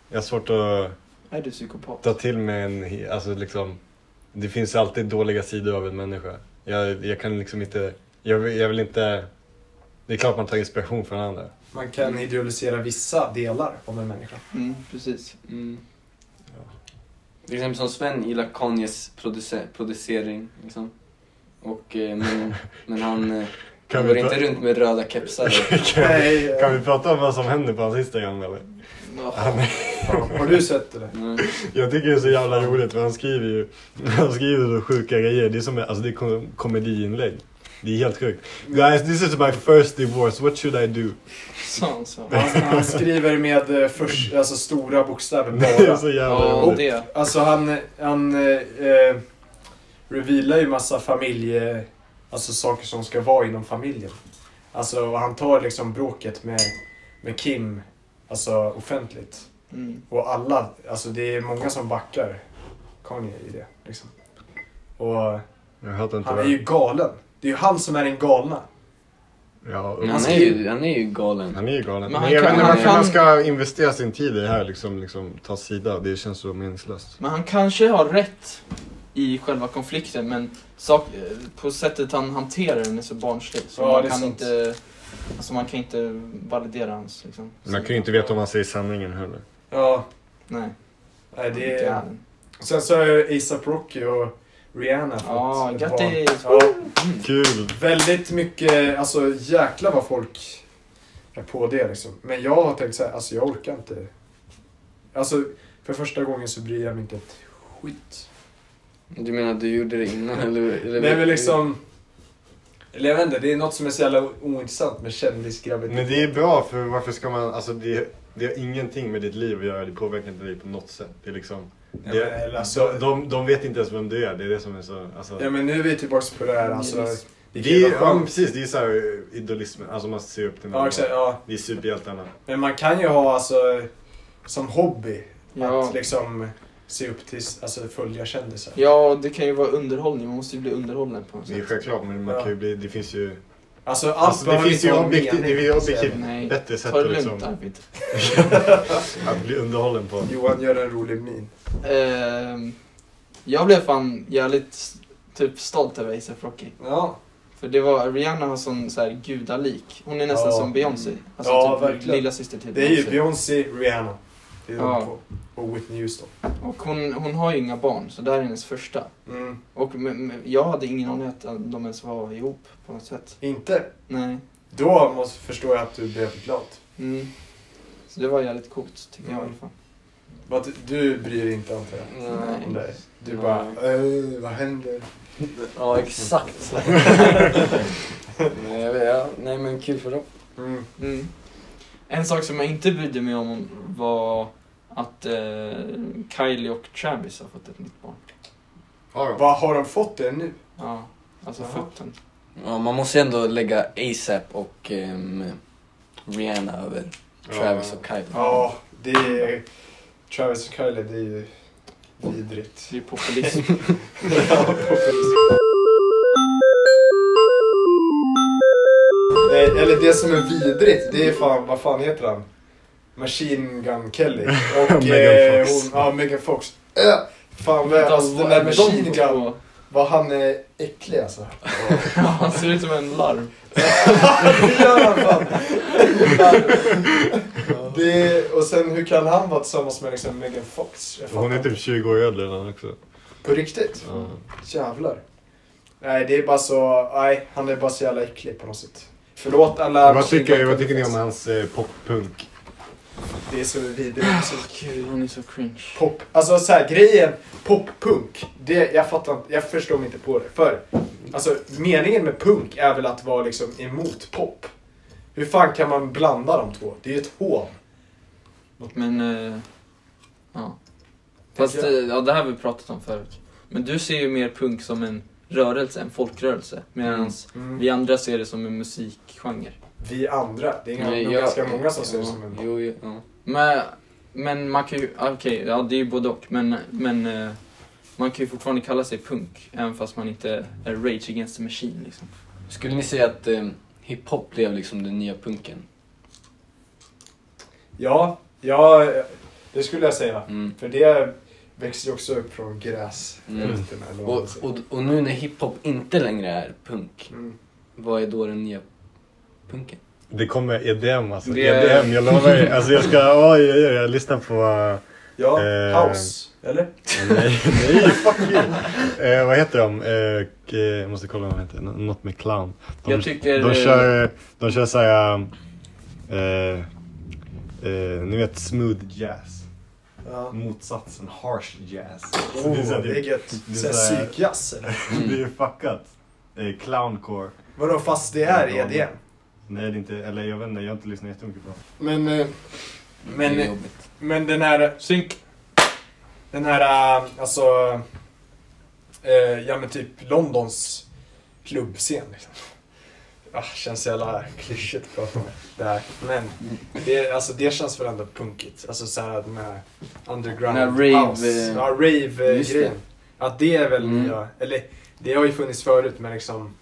Speaker 4: Jag har svårt att
Speaker 5: Är du psykopat?
Speaker 4: ta till mig en, he- alltså liksom... Det finns alltid dåliga sidor av en människa. Jag, jag kan liksom inte, jag, vill- jag vill inte... Det är klart man tar inspiration från andra.
Speaker 2: Man kan idealisera vissa delar om en människa.
Speaker 5: Mm, precis.
Speaker 3: Mm. Till exempel som Sven gillar Kanyes produce- producering. Liksom. Och, eh, men, men han, eh, han
Speaker 4: vi
Speaker 3: går
Speaker 4: ta-
Speaker 3: inte runt med röda kepsar.
Speaker 4: Kan,
Speaker 2: Nej, eh.
Speaker 4: kan vi prata om vad som händer på hans Instagram eller?
Speaker 5: Ja.
Speaker 4: Han,
Speaker 2: Fan, har du sett det?
Speaker 3: Mm.
Speaker 4: jag tycker det är så jävla roligt för han skriver ju han skriver så sjuka grejer. Det är som alltså det är kom- komediinlägg. Det är helt sjukt. Guys, this is my first divorce. What should I do?
Speaker 5: Så, så.
Speaker 2: Han, han skriver med eh, först, alltså, stora bokstäver
Speaker 4: Det är
Speaker 2: bara.
Speaker 4: så jävla
Speaker 5: Ja,
Speaker 4: roligt.
Speaker 5: det.
Speaker 2: Alltså han, han eh, eh, revealar ju massa familje... Alltså saker som ska vara inom familjen. Alltså och han tar liksom bråket med, med Kim, alltså offentligt.
Speaker 5: Mm.
Speaker 2: Och alla, alltså det är många som backar Kanye i det. Liksom. Och
Speaker 4: Jag hatar inte
Speaker 2: han är
Speaker 4: det.
Speaker 2: ju galen. Det är ju han som är den galna.
Speaker 4: Ja, och
Speaker 5: Men
Speaker 3: Han
Speaker 4: han,
Speaker 3: är ju, han är ju galen.
Speaker 4: han är ju galen.
Speaker 5: Men
Speaker 4: Men
Speaker 5: han
Speaker 4: jag
Speaker 5: kan-
Speaker 4: vet inte
Speaker 5: han
Speaker 4: varför
Speaker 5: kan-
Speaker 4: man ska investera sin tid i det här liksom, liksom ta sida. Det känns så meningslöst.
Speaker 5: Men han kanske har rätt i själva konflikten men sak, eh, på sättet han hanterar den är så barnslig. Så
Speaker 2: Ja, det
Speaker 5: man,
Speaker 2: är
Speaker 5: kan
Speaker 2: sant.
Speaker 5: inte, alltså man kan inte validera hans liksom.
Speaker 4: Man kan ju inte veta om han säger sanningen heller.
Speaker 2: Ja,
Speaker 5: Nej.
Speaker 2: nej,
Speaker 5: han
Speaker 2: det
Speaker 5: inte
Speaker 2: är...
Speaker 5: är den.
Speaker 2: Sen så har ju ASAP Rocky och Rihanna fått
Speaker 5: Ja,
Speaker 2: ett
Speaker 5: grattis!
Speaker 2: barn. Ja,
Speaker 4: Kul!
Speaker 2: väldigt mycket, alltså jäklar vad folk är på det liksom. Men jag har tänkt så här, alltså jag orkar inte. Alltså, för första gången så bryr jag mig inte ett skit.
Speaker 3: Du menar att du gjorde det innan eller? eller
Speaker 2: Nej men liksom... Eller jag vet inte, det är något som är så jävla o- ointressant med kändisgraviditet.
Speaker 4: Men det är bra för varför ska man, alltså det, det har ingenting med ditt liv att göra. Det påverkar inte dig på något sätt. Det är liksom,
Speaker 2: Ja,
Speaker 4: det,
Speaker 2: men, eller alltså-
Speaker 4: de, de, de vet inte ens vem du är. Det är det som är så, alltså.
Speaker 2: Ja men nu är vi tillbaka på det här alltså.
Speaker 5: Yes.
Speaker 2: Det kan
Speaker 4: Det
Speaker 2: ju
Speaker 4: är,
Speaker 2: vara
Speaker 4: ja, men
Speaker 2: skönt.
Speaker 4: precis, det är såhär idolismen, alltså man ser upp till
Speaker 2: Ja, exakt, ja.
Speaker 4: Vi är superhjältarna.
Speaker 2: Men man kan ju ha alltså som hobby
Speaker 5: Ja.
Speaker 2: att liksom se upp till, alltså följa kändisar.
Speaker 5: Ja, det kan ju vara underhållning. Man måste ju bli underhållen på något
Speaker 4: Det är
Speaker 5: sätt.
Speaker 4: självklart, men man
Speaker 2: Ja.
Speaker 4: kan ju bli, det finns ju...
Speaker 2: Alltså allt
Speaker 4: Alltså, det
Speaker 2: behöver
Speaker 4: finns
Speaker 2: inte
Speaker 4: ju
Speaker 2: vara
Speaker 4: objektiv, det
Speaker 2: mening,
Speaker 4: är ju
Speaker 2: så att säga.
Speaker 4: objektiv
Speaker 5: Nej,
Speaker 4: bättre sätt
Speaker 5: ta det
Speaker 4: att,
Speaker 5: lugnt
Speaker 4: liksom,
Speaker 5: Arvid.
Speaker 4: att bli underhållen på.
Speaker 2: Johan gör en rolig min.
Speaker 5: Ehm, jag blev fan jävligt typ stolt över ASAP Rocky.
Speaker 2: Ja,
Speaker 5: För det var, Rihanna har sån så här gudalik. Hon är nästan
Speaker 2: Ja. Mm.
Speaker 5: som Beyoncé. Alltså
Speaker 2: Ja,
Speaker 5: typ
Speaker 2: verkligen.
Speaker 5: lilla syster till
Speaker 2: det är ju
Speaker 5: Beyoncé.
Speaker 2: Beyoncé, Rihanna. Det är de
Speaker 5: Ja.
Speaker 2: två. Och Whitney Houston.
Speaker 5: Och hon, hon har ju inga barn, så det här är hennes första.
Speaker 2: Mm.
Speaker 5: Och men- men jag hade ingen aning att de ens var ihop på något sätt.
Speaker 2: Inte?
Speaker 5: Nej.
Speaker 2: Då måste, förstår jag att du blev glad.
Speaker 5: Mm. Så det var jävligt coolt, tycker jag i alla fall.
Speaker 2: Vad du- Du bryr dig inte antar jag.
Speaker 3: Nej.
Speaker 2: Om det. Du
Speaker 3: Ja.
Speaker 2: bara, "Eh, vad händer?
Speaker 3: Ja, exakt. nej, jag vet, ja. nej, men kul för dem.
Speaker 2: Mm.
Speaker 5: Mm. En sak som jag inte brydde mig om var att eh, Kylie och Travis har fått ett nytt barn.
Speaker 4: Har de?
Speaker 2: Vad har de fått det nu?
Speaker 5: Ja, alltså
Speaker 2: Jaha.
Speaker 5: foten.
Speaker 3: Ja, man måste ju ändå lägga ASAP och ehm, Rihanna över Travis
Speaker 4: Ja.
Speaker 3: och Kylie.
Speaker 2: Ja, det är... Travis och Kylie, det är ju vidrigt.
Speaker 5: Det är populism.
Speaker 2: Nej, eller det som är vidrigt, det är fan, vad fan heter han? Machine Gun Kelly. Och
Speaker 4: Megan
Speaker 2: eh,
Speaker 4: Fox.
Speaker 2: hon, ja, Megan Fox. Äh, fan vad, alltså den där Machine Gun, vad han är äcklig alltså.
Speaker 5: Ja, Han ser ut som en larv.
Speaker 2: Det gör han fan. Det, och sen hur kan han vara tillsammans med liksom Megan Fox? Jag
Speaker 4: Hon är
Speaker 2: fattar
Speaker 4: typ 20 år äldre än han också.
Speaker 2: inte. På riktigt?
Speaker 4: Ja.
Speaker 2: Jävlar. Nej, det är bara så... Nej, han är bara så jävla äcklig på något sätt. Förlåt alla...
Speaker 4: Vad tycker, vad tycker ni om hans eh, poppunk?
Speaker 2: Det är så vidrig
Speaker 5: Åh,
Speaker 2: musik.
Speaker 5: Gud, han är så cringe.
Speaker 2: Pop. Alltså så här, grejen, poppunk, det, jag fattar inte, jag förstår mig inte på det. För, alltså meningen med punk är väl att vara liksom emot pop. Hur fan kan man blanda de två? Det är ju ett hån.
Speaker 5: Men, eh, ja. Fast eh, ja, det här har vi pratat om förut. Men du ser ju mer punk som en rörelse, en folkrörelse. Medan vi andra ser det som en musikgenre.
Speaker 2: Mm. Vi andra, det är inga,
Speaker 3: Nej,
Speaker 2: nog
Speaker 3: jag-
Speaker 2: ganska många som ser det
Speaker 3: ja,
Speaker 2: som en
Speaker 3: Jo, jo, ja.
Speaker 5: Men, men man kan ju, ah, okej, ja det är ju både och. Men, men eh, man kan ju fortfarande kalla sig punk. Även fast man inte är Rage Against the Machine liksom.
Speaker 3: Skulle ni säga att ehm, hiphop blev liksom den nya punken?
Speaker 2: Ja, ja, det skulle jag säga.
Speaker 3: Mm.
Speaker 2: För det växer ju också upp från gräs.
Speaker 3: Mm.
Speaker 2: Rötterna, eller vad
Speaker 3: Och,
Speaker 2: man säger.
Speaker 3: och, och nu när hiphop inte längre är punk,
Speaker 2: Mm.
Speaker 3: vad är då den nya punken?
Speaker 4: Det kommer EDM alltså.
Speaker 5: Det är-
Speaker 4: EDM, jag lovar er. Alltså jag ska, oj oj oj, jag lyssnar på... eh,
Speaker 2: Ja,
Speaker 4: Eh,
Speaker 2: house. Eller?
Speaker 4: Nej, nej, fuck you. Eh, vad heter de? Eh, k- eh, jag måste kolla vad de heter. Nå- Något med clown. De,
Speaker 5: Jag tycker,
Speaker 4: de
Speaker 5: eh,
Speaker 4: kör, de kör såhär... Eh, eh, ni vet smooth jazz. Mm.
Speaker 2: Ja.
Speaker 4: Motsatsen, harsh jazz. Så
Speaker 2: Oh,
Speaker 4: det är så här-
Speaker 2: det är gött.
Speaker 4: det är
Speaker 2: Såhär
Speaker 4: så här-
Speaker 2: psykjazz eller?
Speaker 4: Det är fuckat. Eh, clowncore.
Speaker 2: Vadå fast det är E EDM?
Speaker 4: Nej, det är inte, eller jag vet inte, jag har inte lyssnat jättemycket på dem.
Speaker 2: Men, eh, men,
Speaker 3: Det är
Speaker 2: eh,
Speaker 3: jobbigt.
Speaker 2: men den här, eh,
Speaker 5: Synk!
Speaker 2: den här, eh, alltså, eh, ja men typ Londons klubbscen liksom. Ah, känns jävla klyschigt att prata om det här. Men det, alltså, det känns väl ändå punkigt. Alltså såhär den här underground
Speaker 3: Den här rave,
Speaker 2: house.
Speaker 3: eh,
Speaker 2: Ja, rave eh,
Speaker 3: just
Speaker 2: grejen. Att det är väl
Speaker 3: Mm.
Speaker 2: nya, eller det har ju funnits förut men liksom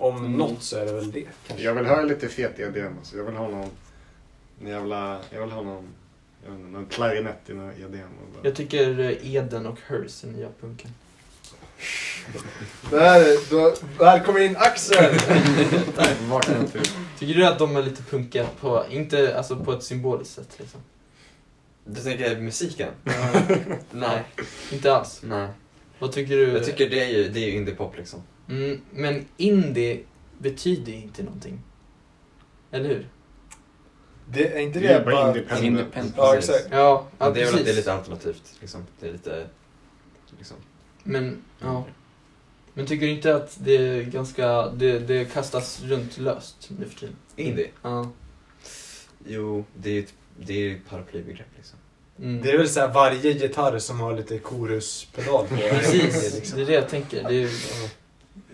Speaker 2: Om
Speaker 5: Mm.
Speaker 2: något så är det väl det. Kanske.
Speaker 6: Jag vill ha lite fet diadem. Alltså. Jag vill ha någon jävla... Jag vill ha någon, jag vet inte, någon klarinett i någon diadem. Och bara.
Speaker 5: Jag tycker eh, Eden och Hers är nya punken.
Speaker 6: Där, Eh, då, där kommer in Axel! Vakna till.
Speaker 5: Tycker du att de är lite punkiga på, inte alltså på ett symboliskt sätt liksom?
Speaker 7: Du tänker musiken?
Speaker 5: Nej, inte alls.
Speaker 7: Nej.
Speaker 5: Vad tycker du?
Speaker 7: Jag tycker det är ju, det är ju indiepop liksom.
Speaker 5: Mm, men indie betyder ju inte någonting. Eller hur?
Speaker 2: Det är inte
Speaker 6: Det är
Speaker 2: det
Speaker 6: bara
Speaker 2: bara...
Speaker 6: independent.
Speaker 2: Ja,
Speaker 7: Precis.
Speaker 2: exakt.
Speaker 5: Ja, ja
Speaker 7: Men det är väl
Speaker 5: precis.
Speaker 7: att det är lite alternativt liksom. Det är lite... Liksom.
Speaker 5: Men, ja. Men tycker du inte att det är ganska, det, det kastas runt löst nu för tiden?
Speaker 7: Indie?
Speaker 5: Ja.
Speaker 7: Jo, det är ju ett, det är ju ett paraplybegrepp liksom.
Speaker 5: Mm.
Speaker 2: Det är väl såhär varje gitarr som har lite koruspedal på.
Speaker 5: Precis,
Speaker 2: Liksom.
Speaker 5: det är det jag tänker. Det är,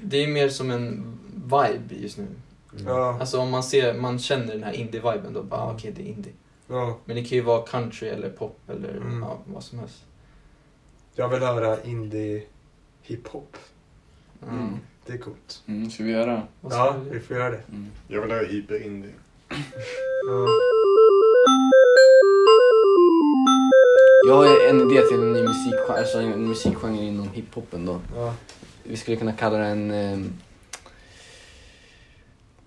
Speaker 5: det är mer som en vibe just nu.
Speaker 7: Mm.
Speaker 2: Ja,
Speaker 5: Alltså om man ser, man känner den här indie-viben då bara, ah, okej det är indie.
Speaker 2: ja.
Speaker 5: Men det kan ju vara country eller pop eller
Speaker 2: Mm.
Speaker 5: ja, vad som helst.
Speaker 2: Jag vill höra indie hiphop.
Speaker 5: Ja.
Speaker 3: Mm.
Speaker 2: Det är coolt.
Speaker 3: Mm, ska vi göra?
Speaker 5: Vad ska
Speaker 2: Ja,
Speaker 5: vi-
Speaker 2: vi får göra det.
Speaker 3: Mm.
Speaker 6: Jag vill ha hyperindie.
Speaker 2: Ja.
Speaker 3: Jag har en idé till en ny musikgenre, alltså en musikgenre inom hiphopen då.
Speaker 2: Ja.
Speaker 3: Vi skulle kunna kalla den ehm,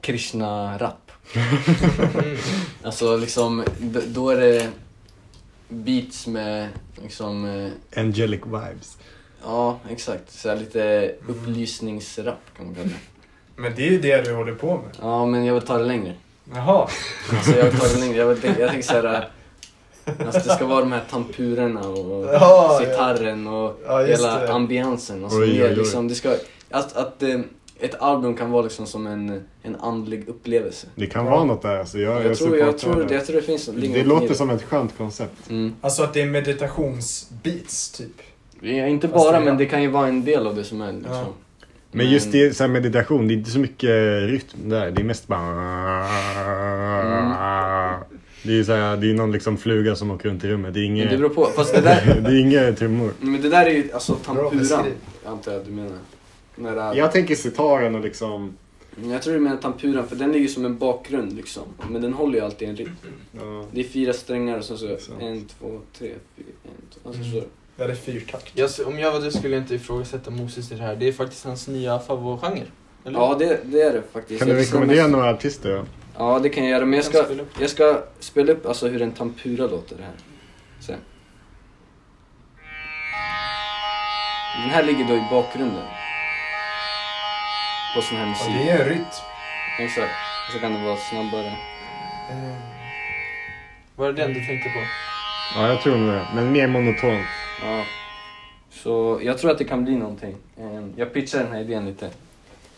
Speaker 3: Krishna-rap.
Speaker 5: Mm.
Speaker 3: Alltså liksom, d- då är det beats med liksom, eh,
Speaker 4: Angelic vibes.
Speaker 3: ja exakt, så här lite upplysningsrap kan man kalla det.
Speaker 2: Men det är ju det du håller på med.
Speaker 3: Ja men jag vill ta det längre.
Speaker 2: Jaha.
Speaker 3: Alltså jag vill ta det längre, jag, vill, jag tänker såhär, alltså det ska vara de här tampurerna och
Speaker 2: Ja,
Speaker 3: sitarren och
Speaker 2: Ja, just
Speaker 3: hela
Speaker 2: det.
Speaker 3: ambiansen. Alltså,
Speaker 4: Oj,
Speaker 3: det,
Speaker 4: oj,
Speaker 3: är
Speaker 4: oj.
Speaker 3: liksom, det ska, att, att eh, ett album kan vara liksom som en, en andlig upplevelse.
Speaker 4: Det kan vara något där alltså. Jag,
Speaker 3: Jag, tror, jag, tror,
Speaker 4: supportar
Speaker 3: det, jag tror det finns
Speaker 4: det.
Speaker 3: ligger
Speaker 4: Det
Speaker 3: något i
Speaker 4: låter som ett skönt koncept.
Speaker 3: Mm.
Speaker 2: Alltså att det är meditationsbeats typ.
Speaker 3: Ja, inte
Speaker 2: Fast
Speaker 3: bara,
Speaker 2: det-
Speaker 3: men det kan ju vara en del av det som är liksom.
Speaker 2: Ja.
Speaker 4: Men just det, så här meditation, det är inte så mycket rytm där. Det är mest bara... Det är ju så här, det är någon liksom fluga som åker runt i rummet. Det är
Speaker 3: Men det
Speaker 4: inga,
Speaker 3: beror på. Fast det där,
Speaker 4: det är inga trummor.
Speaker 3: men det där är ju alltså
Speaker 2: beskriv.
Speaker 3: tampuran, antar jag att du menar. När det är,
Speaker 6: Jag tänker sitaren och liksom...
Speaker 3: Jag tror du menar tampuran, för den är ju som en bakgrund liksom. Men den håller ju alltid en rytm.
Speaker 6: Ja.
Speaker 3: Det är fyra strängar och sen så
Speaker 6: Så.
Speaker 3: en, två, tre, fyra, en, två. Alltså,
Speaker 2: Mm.
Speaker 3: så.
Speaker 2: Ja, det är fyrtakt.
Speaker 5: Jag, s- om jag var du skulle jag inte ifrågasätta Moses i det här. Det är faktiskt hans nya favoritgenre. Eller?
Speaker 3: Ja, det, det är det faktiskt.
Speaker 4: Kan du
Speaker 3: Jag tror
Speaker 4: rekommendera
Speaker 3: mest-
Speaker 4: några artister då?
Speaker 3: Ja, det kan jag göra. Men jag
Speaker 5: Kan
Speaker 3: ska,
Speaker 5: spela upp.
Speaker 3: jag ska spela upp alltså hur en tampura låter här. Sen. Den här ligger då i bakgrunden. På sån här
Speaker 2: Ja,
Speaker 3: musik.
Speaker 2: det är en rytm.
Speaker 3: Exakt. Och så kan det vara snabbare.
Speaker 2: Eh,
Speaker 5: Var det den du tänkte på?
Speaker 4: Ja, jag tror nog det. Men mer monotont.
Speaker 3: Ja. Så jag tror att det kan bli någonting. Ehm, Jag pitchar den här idén lite.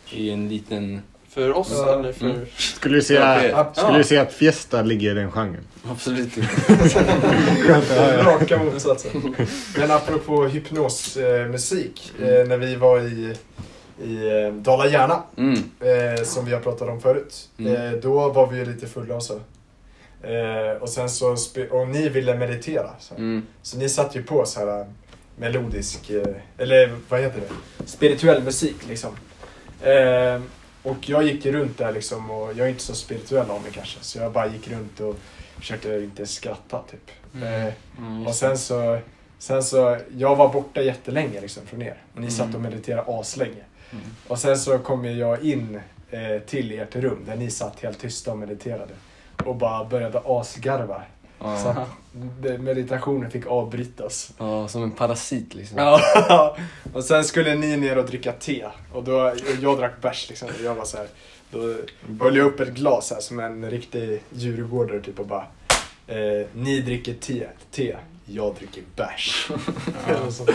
Speaker 3: I en liten...
Speaker 5: För oss
Speaker 2: Ja.
Speaker 5: eller för...
Speaker 3: Mm.
Speaker 4: Skulle du säga,
Speaker 3: Okej.
Speaker 4: skulle du säga att Fiesta ligger i den genren?
Speaker 3: Absolut inte.
Speaker 2: Raka motsatsen. Men apropå hypnosmusik. Eh, när vi var i, i eh, Dala-Järna,
Speaker 3: Mm.
Speaker 2: eh, som vi har pratat om förut.
Speaker 3: Mm.
Speaker 2: Eh, då var vi ju lite fulla och så. Eh, och, sen så spe- och ni ville meditera. Så, här.
Speaker 3: Mm.
Speaker 2: så ni satte ju på så här eh, melodisk, eh, eller vad heter det? Spirituell musik liksom. Eh, och jag gick ju runt där liksom och jag är inte så spirituell av mig kanske. Så jag bara gick runt och försökte inte skratta typ. Eh,
Speaker 3: Mm.
Speaker 2: och sen så, sen så, jag var borta jättelänge liksom från er. Och ni
Speaker 3: Mm.
Speaker 2: satt och mediterade aslänge.
Speaker 3: Mm.
Speaker 2: Och sen så kom ju jag in eh, till ert rum där ni satt helt tysta och mediterade. Och bara började asgarva. Så
Speaker 3: Ja.
Speaker 2: att de- meditationen fick avbrytas.
Speaker 3: ja, som en parasit liksom.
Speaker 2: Ja. och sen skulle ni ner och dricka te. Och då, och jag drack bärs liksom. Och jag var så här, då höll jag upp ett glas här som en riktig djurgårdare typ och bara. Eh, ni dricker te, te. Jag dricker bärs. Och så-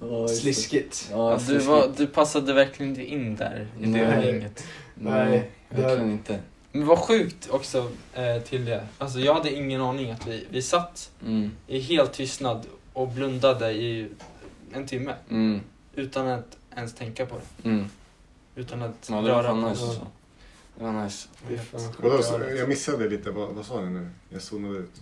Speaker 3: Ja, just det.
Speaker 2: Sliskigt.
Speaker 3: Ja,
Speaker 8: Ja, du,
Speaker 3: sliskigt.
Speaker 8: var, du passade verkligen inte in där i det
Speaker 3: Nej.
Speaker 8: gänget.
Speaker 2: Nej,
Speaker 3: Nej,
Speaker 2: det-
Speaker 3: verkligen inte.
Speaker 8: Men vad sjukt också eh, till det. Alltså jag hade ingen aning att vi, vi satt
Speaker 3: Mm.
Speaker 8: i helt tystnad och blundade i en timme
Speaker 3: Mm.
Speaker 8: utan att ens tänka på det.
Speaker 3: Mm.
Speaker 8: Utan att
Speaker 3: Ja, det var
Speaker 8: röra
Speaker 3: fan
Speaker 8: på
Speaker 3: nice
Speaker 8: det.
Speaker 3: alltså. Det var nice.
Speaker 2: Det är fan sjukt.
Speaker 6: Vadå, så- jag missade lite. Vad, vad sa ni nu? Jag zonade ut.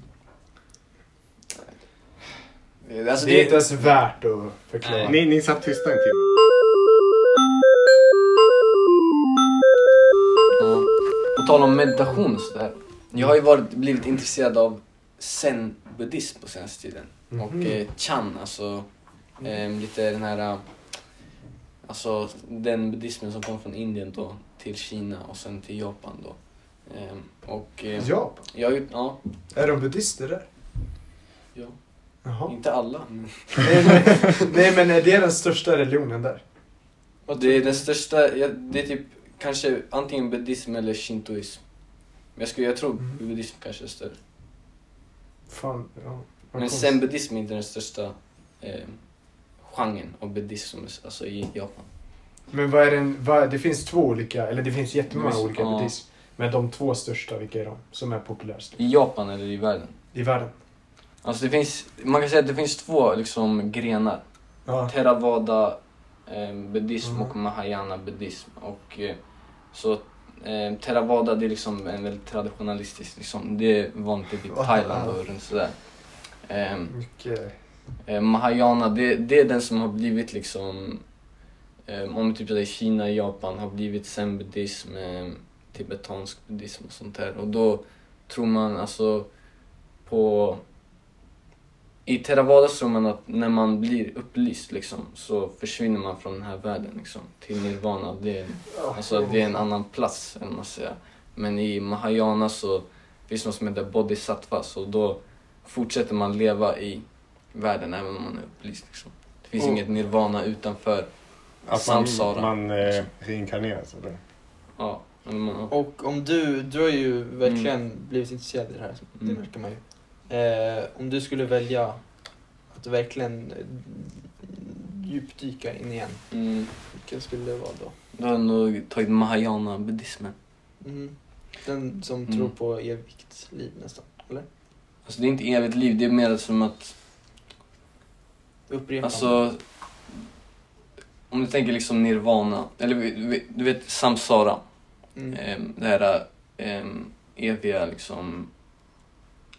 Speaker 3: Alltså,
Speaker 2: det är
Speaker 3: det,
Speaker 2: inte ens värt att förklara.
Speaker 8: Nej.
Speaker 6: Ni, ni satt tysta en timme.
Speaker 3: På tal om meditation och sådär. Jag har ju varit, blivit intresserad av zen-buddhism på senaste tiden.
Speaker 2: Mhm. Mm.
Speaker 3: Och eh, chan, alltså eh, lite den här... eh, Alltså den buddhismen som kom från Indien då till Kina och sen till Japan då. Eh, och... Eh,
Speaker 2: Japan?
Speaker 3: Jag har ju, ja,
Speaker 2: Är de buddhister där?
Speaker 3: Ja.
Speaker 2: Jaha.
Speaker 3: inte alla. Men
Speaker 2: Nej, men- Nej men är det den största religionen där?
Speaker 3: Och Det är den största, ja, det är typ kanske antingen buddhism eller shintoism. Men jag, skulle, jag tror
Speaker 2: Mm.
Speaker 3: buddhism kanske är större.
Speaker 2: Fan, ja. vad
Speaker 3: Men
Speaker 2: konstigt.
Speaker 3: sen buddhism är inte den största eh, genren av buddhism, alltså i Japan.
Speaker 2: Men vad är den, vad, det finns två olika, eller det finns jättemånga
Speaker 3: Det finns-
Speaker 2: olika
Speaker 3: ja.
Speaker 2: buddhism. Men de två största, vilka är de? Som är populärast
Speaker 3: I Japan eller i världen?
Speaker 2: i världen?
Speaker 3: Alltså det finns, man kan säga att det finns två liksom grenar.
Speaker 2: Ja.
Speaker 3: Theravada eh, buddhism
Speaker 2: Mm.
Speaker 3: och mahayana buddhism. Och, eh, så eh, Theravada det är liksom en väldigt traditionalistisk, liksom, det är vanligt i typ Thailand och runt sådär. Ehm,
Speaker 2: Mycket.
Speaker 3: Eh, Mahayana, det, det är den som har blivit liksom, eh, om typ det är Kina, Japan, har blivit zen-buddhism, eh, tibetansk buddhism och sånt där. Och då tror man alltså på... I Theravada tror man att när man blir upplyst liksom, så försvinner man från den här världen liksom, till nirvana. Det är, alltså, det är en annan plats, eller vad man säger. Men i Mahayana så finns något som heter bodhisattva, så då fortsätter man leva i världen även om man är upplyst. Liksom. Det finns
Speaker 4: Mm.
Speaker 3: inget nirvana utanför
Speaker 4: Att man,
Speaker 3: samsara.
Speaker 4: man eh, reinkarneras eller?
Speaker 3: Ja, men man,
Speaker 8: Och om du, du har ju verkligen
Speaker 5: Mm.
Speaker 8: blivit intresserad i det här, det
Speaker 3: Mm.
Speaker 8: märker man ju. Eh, om du skulle välja att verkligen eh, djupdyka in igen,
Speaker 3: mm,
Speaker 8: vilken skulle det vara då?
Speaker 3: då har jag nog tagit mahayana-buddhismen.
Speaker 8: Mm. Den som
Speaker 3: Mm.
Speaker 8: tror på evigt liv nästan, eller?
Speaker 3: Alltså det är inte evigt liv, det är mer som att,
Speaker 8: Upprepande.
Speaker 3: alltså om du tänker liksom nirvana, eller vi- vi- du vet samsara,
Speaker 8: mm.
Speaker 5: eh,
Speaker 3: ehm, det här ehm, eviga liksom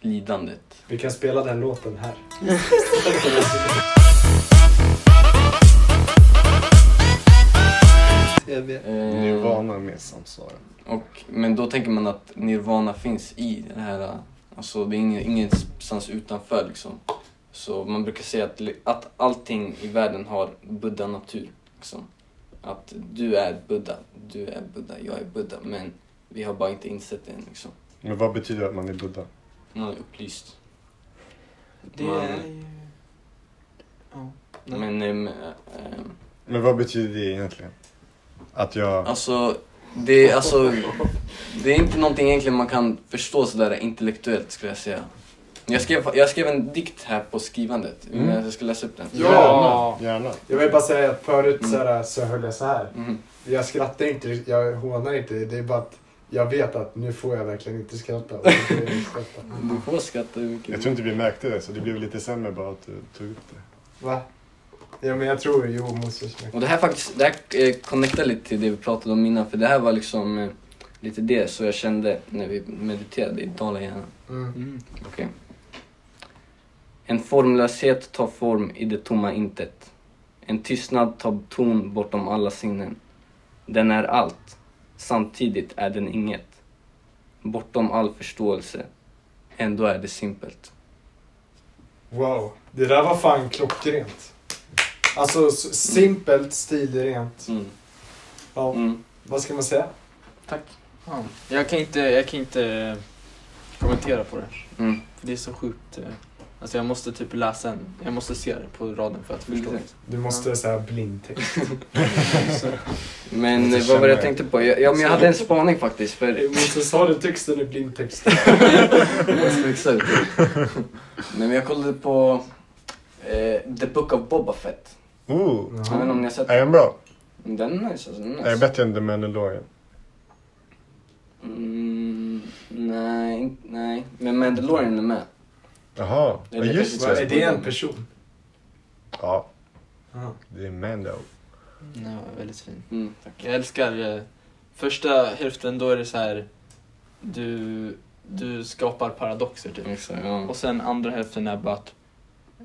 Speaker 3: lidandet.
Speaker 2: Vi kan spela den låten här.
Speaker 8: TV.
Speaker 3: Ehm,
Speaker 6: Nirvana med samsara.
Speaker 3: Och, men då tänker man att nirvana finns i den här, alltså det är ingen, ingenstans utanför liksom. Så man brukar säga att, li- att allting i världen har buddha-natur. Liksom. Att du är buddha, du är buddha, jag är buddha. Men vi har bara inte insett det än liksom.
Speaker 6: Men vad betyder att man är buddha?
Speaker 3: Man är upplyst.
Speaker 8: Det
Speaker 3: Man-
Speaker 8: är ju... Ja. Nej.
Speaker 3: Men ehm, ehm,
Speaker 6: Men vad betyder det egentligen? Att jag...
Speaker 3: Alltså, det, är- alltså, det är inte någonting egentligen man kan förstå sådär intellektuellt skulle jag säga. Jag skrev, jag skrev en dikt här på skrivandet.
Speaker 6: Mm.
Speaker 3: Jag ska läsa upp den.
Speaker 8: Ja!
Speaker 6: Gärna.
Speaker 2: Jag vill bara säga att förut
Speaker 3: Mm.
Speaker 2: så, här, så höll jag så här.
Speaker 3: Mm.
Speaker 2: Jag skrattar inte, jag hånar inte. Det är bara att jag vet att nu får jag verkligen inte skratta. Och då börjar jag skratta.
Speaker 3: Du får skratta hur mycket
Speaker 6: Jag tror inte vi märkte det, så det blev lite sämre bara att du tog upp det.
Speaker 2: Va? Ja men jag tror, jo Moses. skratta.
Speaker 3: Och det här faktiskt, det här eh, connectar lite till det vi pratade om innan. För det här var liksom eh, lite det så jag kände när vi mediterade i Dalahjärnan.
Speaker 2: Mm.
Speaker 8: Mm.
Speaker 3: Okej. En formlöshet tar form i det tomma intet. En tystnad tar ton bortom alla sinnen. Den är allt, samtidigt är den inget. Bortom all förståelse, ändå är det simpelt.
Speaker 2: Wow, det där var fan klockrent. Alltså s- simpelt, stilrent.
Speaker 3: Mm.
Speaker 2: Ja,
Speaker 6: Mm.
Speaker 2: vad ska man säga?
Speaker 5: Ja. Jag kan inte, jag kan inte eh, kommentera på det.
Speaker 3: Mm.
Speaker 5: För det är så sjukt. eh, Alltså jag måste typ läsa en, jag måste se det på raden för att förstå.
Speaker 3: Mm.
Speaker 2: Du måste säga blindtext.
Speaker 3: Men
Speaker 6: Jag
Speaker 3: eh, vad var det
Speaker 6: känner-
Speaker 3: jag tänkte på? Jag, ja, men jag hade en spaning faktiskt. För...
Speaker 2: Moses, har du texten i blindtext?
Speaker 3: Jag ska fixa det. Nej, men jag kollade på eh, The Book of Boba Fett.
Speaker 6: Ooh.
Speaker 3: Jag vet inte om ni har sett
Speaker 6: Är den bra?
Speaker 3: den? Den är nice alltså. Den är nice.
Speaker 6: Är den bättre än The Mandalorian?
Speaker 3: Mm, nej, inte- nej. Men Mandalorian är med.
Speaker 6: Jaha,
Speaker 3: Det
Speaker 6: ja,
Speaker 3: är lite
Speaker 6: just
Speaker 3: Vad,
Speaker 2: är
Speaker 6: det.
Speaker 2: det en person?
Speaker 6: Ja,
Speaker 2: Ja.
Speaker 6: det är Mando.
Speaker 5: Den var väldigt fin.
Speaker 3: Mm, tack.
Speaker 5: Jag älskar eh, första hälften, då är det så här du, du skapar paradoxer typ.
Speaker 3: Exakt, ja.
Speaker 5: Och sen andra hälften är bara att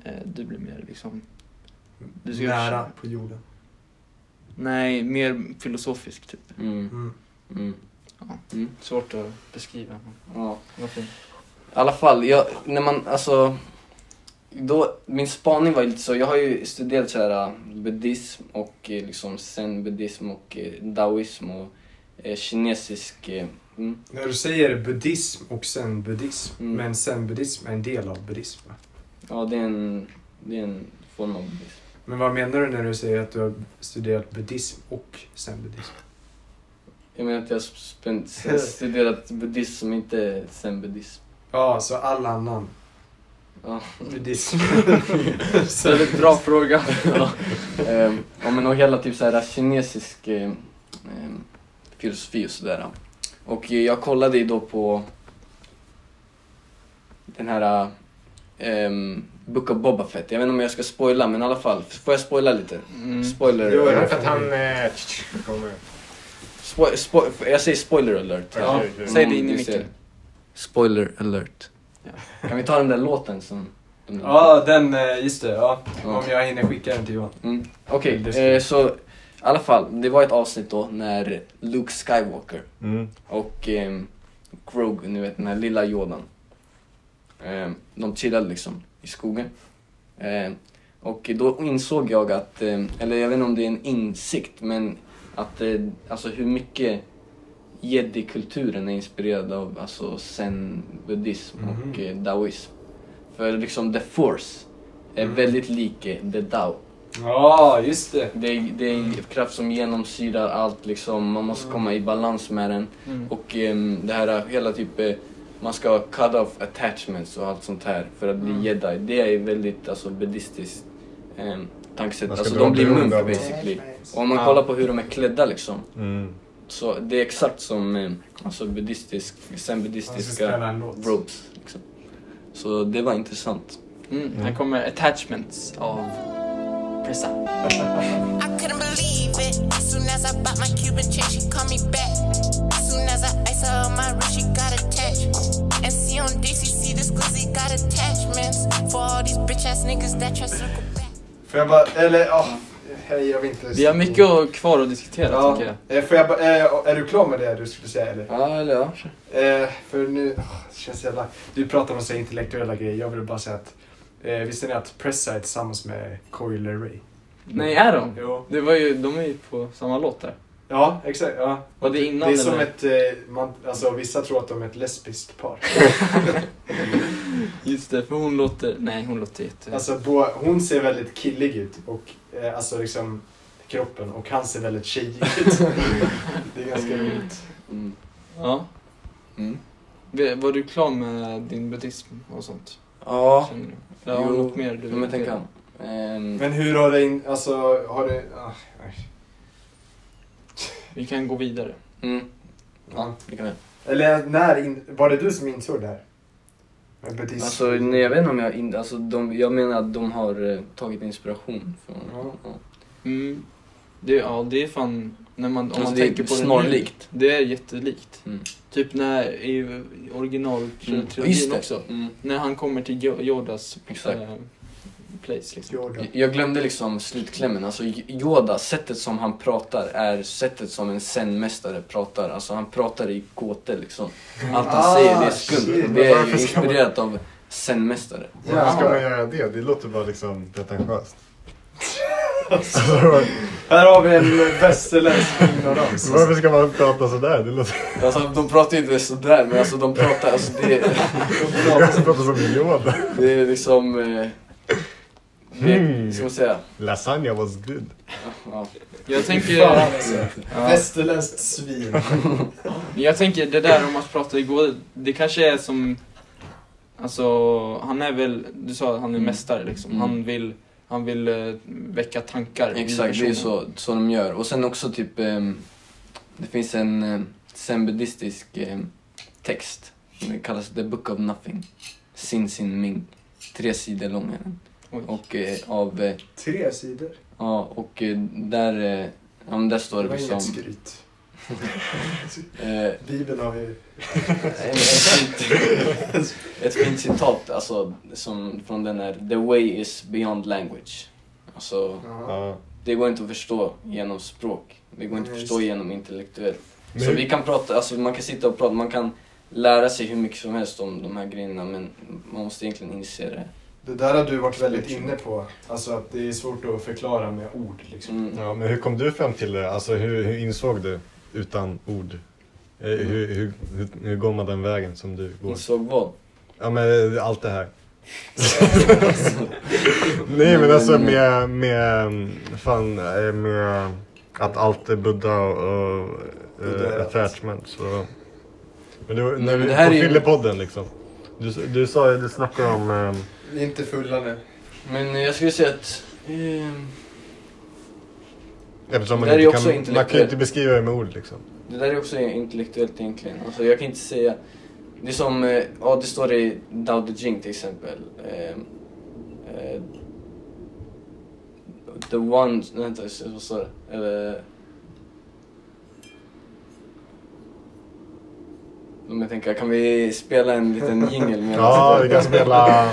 Speaker 5: eh, du blir mer liksom, Du ska-
Speaker 2: Nära på jorden.
Speaker 5: nej, mer filosofisk typ.
Speaker 3: Mm,
Speaker 2: Mm.
Speaker 3: mm. Mm.
Speaker 5: Svårt att beskriva.
Speaker 3: Ja.
Speaker 5: Vad fint.
Speaker 3: I alla fall, jag, när man alltså... Då, min spaning var ju lite så, jag har ju studerat så här, äh, buddhism och eh, liksom zen-buddhism och eh, daoism och eh, kinesisk... Eh, mm,
Speaker 2: När du säger buddhism och zen-buddhism,
Speaker 3: Mm.
Speaker 2: men zen-buddhism är en del av buddhism va?
Speaker 3: ja, det är, en, det är en form av buddhism.
Speaker 2: Men vad menar du när du säger att du har studerat buddhism och zen-buddhism?
Speaker 3: Jag menar att jag har spen- s- studerat buddhism som inte är zen-buddhism.
Speaker 2: Ja, så all annan
Speaker 3: Ja.
Speaker 2: buddhism.
Speaker 3: Så det är en bra fråga. ja. Ehm, ja, men och hela typ så här kinesisk eh, ehm, filosofi och sådär. Och eh, jag kollade ju då på den här ehm, Book of Boba Fett. Jag vet inte om jag ska spoila men i alla fall. Får jag spoila lite?
Speaker 5: Mm.
Speaker 3: Spoiler.
Speaker 6: Jo, det är för att han... eh, Kommer.
Speaker 3: Spo- spo- jag säger spoiler alert.
Speaker 6: Okej,
Speaker 5: Ja,
Speaker 6: okej.
Speaker 5: säg det in i
Speaker 3: Mm, vi ser.
Speaker 5: micken.
Speaker 3: Spoiler alert. Kan vi ta den där låten som... den där-
Speaker 2: Ja, den, eh, just det. Ja.
Speaker 3: Ja.
Speaker 2: Om jag hinner skicka den till Johan.
Speaker 3: Mm. Okej,
Speaker 2: Det ska-
Speaker 3: eh, så i alla fall, det var ett avsnitt då när Luke Skywalker
Speaker 4: Mm.
Speaker 3: och eh, Grogu, ni vet den här lilla Yodan. Eh, de chillade liksom i skogen. Eh, och då insåg jag att, eh, eller jag vet inte om det är en insikt, men att eh, alltså hur mycket jedi-kulturen är inspirerad av alltså zen-buddhism och
Speaker 2: Mhm.
Speaker 3: eh, daoism. För liksom the force är
Speaker 2: Mm.
Speaker 3: väldigt lik eh, the dao.
Speaker 2: Ja, just det.
Speaker 3: Det är, det är en kraft som genomsyrar allt liksom, man måste komma i balans med den.
Speaker 5: Mm.
Speaker 3: Och ehm, det här hela typ, eh, man ska cut off attachments och allt sånt här för att bli jedi. Det är väldigt alltså buddhistiskt ehm, tankesätt.
Speaker 6: Man ska
Speaker 3: Alltså
Speaker 6: dra
Speaker 3: de blir
Speaker 6: beroende
Speaker 3: munk
Speaker 6: av-
Speaker 3: basically. Och om man kollar på hur de är klädda liksom,
Speaker 4: Mm.
Speaker 3: så det är exakt som eh, alltså buddhistisk,
Speaker 2: Han ska
Speaker 3: zen-buddhistiska
Speaker 2: spela en låt.
Speaker 3: robes. Liksom. Så det var intressant.
Speaker 5: Mm. Här kommer Attachments av Pressa.
Speaker 9: I couldn't believe it. Soon as I bought my Cuban chick, she called me back. Soon as I ice her on my wrist, she got attached. And see on DCC, this glizzy got attachments. For all these bitch ass niggas that try circle back.
Speaker 2: Får jag bara, eller ja, hej jag vill inte...
Speaker 5: Vi har mycket att- kvar att diskutera
Speaker 2: Ja.
Speaker 5: tycker jag.
Speaker 2: Eh, Får jag bara, eh, är du klar med det du skulle säga eller?
Speaker 3: Ja, eller ja.
Speaker 2: Eh, för nu, åh, det känns jävla... Du pratar om så här intellektuella grejer, jag vill bara säga att eh, visste ni att Pressa är tillsammans med Coil Ray?
Speaker 3: Mm.
Speaker 5: Nej, är de?
Speaker 2: Jo.
Speaker 5: Det var ju, de är ju på samma låt där.
Speaker 2: Ja, exakt. Ja.
Speaker 5: Var det
Speaker 2: Det
Speaker 5: innan
Speaker 2: är som
Speaker 5: eller?
Speaker 2: ett, eh, man, alltså vissa tror att de är ett lesbiskt par.
Speaker 5: Just det, för hon låter... Nej, hon låter jätte...
Speaker 2: Alltså bo, hon ser väldigt killig ut och eh, alltså liksom kroppen och han ser väldigt tjejig ut. det är ganska roligt.
Speaker 3: Mm.
Speaker 5: Ja.
Speaker 3: Mm.
Speaker 5: Ve- Var du klar med din buddhism och sånt?
Speaker 3: Ja,
Speaker 5: Känner du? Eller har
Speaker 3: Jo,
Speaker 5: du något mer du
Speaker 3: men tänk om. Ehm,
Speaker 2: Men hur har det, in, alltså har det, ah, nej.
Speaker 5: Vi kan gå vidare.
Speaker 3: mm.
Speaker 2: Ja.
Speaker 3: Det kan jag.
Speaker 2: Eller när, in, var det du som insåg det här? Med buddhism?
Speaker 3: Alltså, nej, jag vet inte om jag... In, alltså, de, jag menar att de har eh, tagit inspiration från...
Speaker 2: Ja.
Speaker 3: ja.
Speaker 5: Mm. Det, ja, det är fan... När man, om
Speaker 3: Alltså,
Speaker 5: man
Speaker 3: det är
Speaker 5: tänker på
Speaker 3: snarlikt.
Speaker 5: Det, nu, det är jättelikt.
Speaker 3: Mm.
Speaker 5: Typ när i originaltrilogin
Speaker 3: Mm. Just det.
Speaker 5: också.
Speaker 3: Mm.
Speaker 5: När han kommer till Jo- Yodas
Speaker 3: Exakt.
Speaker 5: eh, place liksom.
Speaker 2: Jordan.
Speaker 3: Jag- Jag glömde liksom slutklämmen. Alltså, Y- Yoda, sättet som han pratar är sättet som en zen-mästare pratar. Alltså, han pratar i gåtor liksom. Allt han
Speaker 2: Ah,
Speaker 3: säger, det är skumt.
Speaker 2: shit.
Speaker 3: Det är
Speaker 6: Varför
Speaker 3: ju
Speaker 6: ska man-
Speaker 3: inspirerat av zen-mästare.
Speaker 6: Varför ska
Speaker 2: Ja.
Speaker 6: man göra det? Det låter bara liksom pretentiöst.
Speaker 2: Här har vi en västerländsk ignorans.
Speaker 4: Varför ska man prata sådär? Det låter...
Speaker 3: Alltså, de pratar ju inte sådär, men alltså, de pratar... Alltså, det,
Speaker 4: Jag pratar som Yoda.
Speaker 3: det är liksom... Eh, det,
Speaker 4: Mm.
Speaker 3: ska man säga?
Speaker 4: Lasagna was good.
Speaker 3: Ja.
Speaker 5: Jag tänker,
Speaker 2: Fan, alltså.
Speaker 5: ja,
Speaker 2: Västerländskt svin.
Speaker 5: jag tänker det där om att prata igår, det kanske är som... Alltså, han är väl... Du sa att han är
Speaker 3: Mm.
Speaker 5: mästare liksom.
Speaker 3: Mm.
Speaker 5: Han vill, han vill eh, väcka tankar i
Speaker 3: Exakt, det är
Speaker 5: personen.
Speaker 3: så, så de gör. Och sen också typ, ehm, det finns en eh, zenbuddhistisk ehm, text. Den kallas The Book of Nothing. Sin Sin Ming. Tre sidor lång är den.
Speaker 5: Oj.
Speaker 3: Och, eh, av, eh,
Speaker 2: Tre sidor.
Speaker 3: ja, och eh, där, eh, ja, men där står
Speaker 2: Det
Speaker 3: det
Speaker 2: var
Speaker 3: liksom...
Speaker 2: inget skryt.
Speaker 3: Eh,
Speaker 2: Bibeln har vi...
Speaker 3: ett, fint, ett fint citat alltså, som, från den här The way is beyond language. Alltså,
Speaker 2: Ja.
Speaker 4: Ja.
Speaker 3: det går inte att förstå genom språk. Det går inte att
Speaker 2: Nej,
Speaker 3: förstå
Speaker 2: just det.
Speaker 3: genom intellektuellt. Så vi kan prata, alltså man kan sitta och prata, man kan lära sig hur mycket som helst om de här grejerna men man måste egentligen inse det.
Speaker 2: Det där har du varit väldigt inne på. Alltså att det är svårt att förklara med ord liksom.
Speaker 3: Mm.
Speaker 4: Ja, men hur kom du fram till det? Alltså hur, hur insåg du utan ord? Eh,
Speaker 3: Mm.
Speaker 4: Hur, hur, hur, hur går man den vägen som du går?
Speaker 3: Insåg vad?
Speaker 4: Ja men eh, allt det här. Nej men alltså
Speaker 3: Mm.
Speaker 4: med, med, mm, fan, eh, med att allt är Buddha och, och
Speaker 2: Buddha,
Speaker 4: eh,
Speaker 2: ja.
Speaker 4: attachment. Så. Men du,
Speaker 3: Nej,
Speaker 4: när
Speaker 3: men
Speaker 4: vi,
Speaker 3: det här
Speaker 4: på
Speaker 3: är ju-
Speaker 4: Fyllepodden liksom. Du, du sa ju, du snackade om... ehm,
Speaker 2: Vi är inte fulla nu.
Speaker 3: Men eh, jag skulle säga att... ehm,
Speaker 4: Eftersom man,
Speaker 3: Det här är
Speaker 4: inte
Speaker 3: också
Speaker 4: kan, man kan ju
Speaker 3: intellektuellt.
Speaker 4: inte beskriva det med ord liksom.
Speaker 3: Det där är också intellektuellt egentligen. Alltså jag kan inte säga... Det är som, eh, ja det står i Dao De Jing till exempel. Ehm, eh, the one... Vänta, vad står det? Eller... Om jag tänker, kan vi spela en liten jingel medan
Speaker 4: Ja, vi kan spela...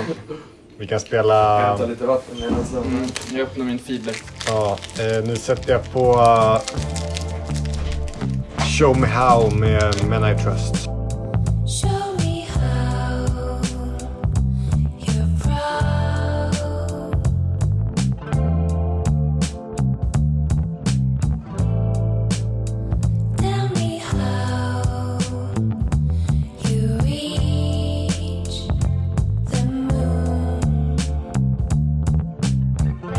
Speaker 4: Vi kan spela...
Speaker 3: Jag kan ta lite vatten medan
Speaker 5: Mm, jag öppnar min fiber.
Speaker 4: Ja, eh, nu sätter jag på eh, Show Me How med Men I Trust.
Speaker 9: Show me how you're proud. Tell me how you reach the moon. My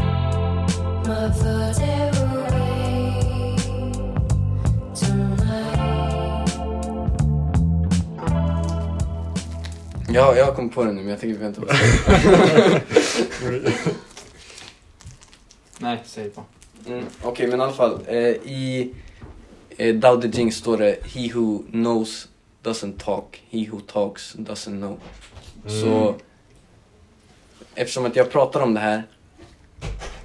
Speaker 9: thoughts are away tonight.
Speaker 3: Ja, jag kom på den nu men jag tänker vänta på det.
Speaker 5: Nej, säg bara.
Speaker 3: Mm, Okej, men i alla fall. Eh, I eh, Dao De Jing står det He who knows doesn't talk, he who talks doesn't know.
Speaker 5: Mm.
Speaker 3: Så eftersom att jag pratar om det här,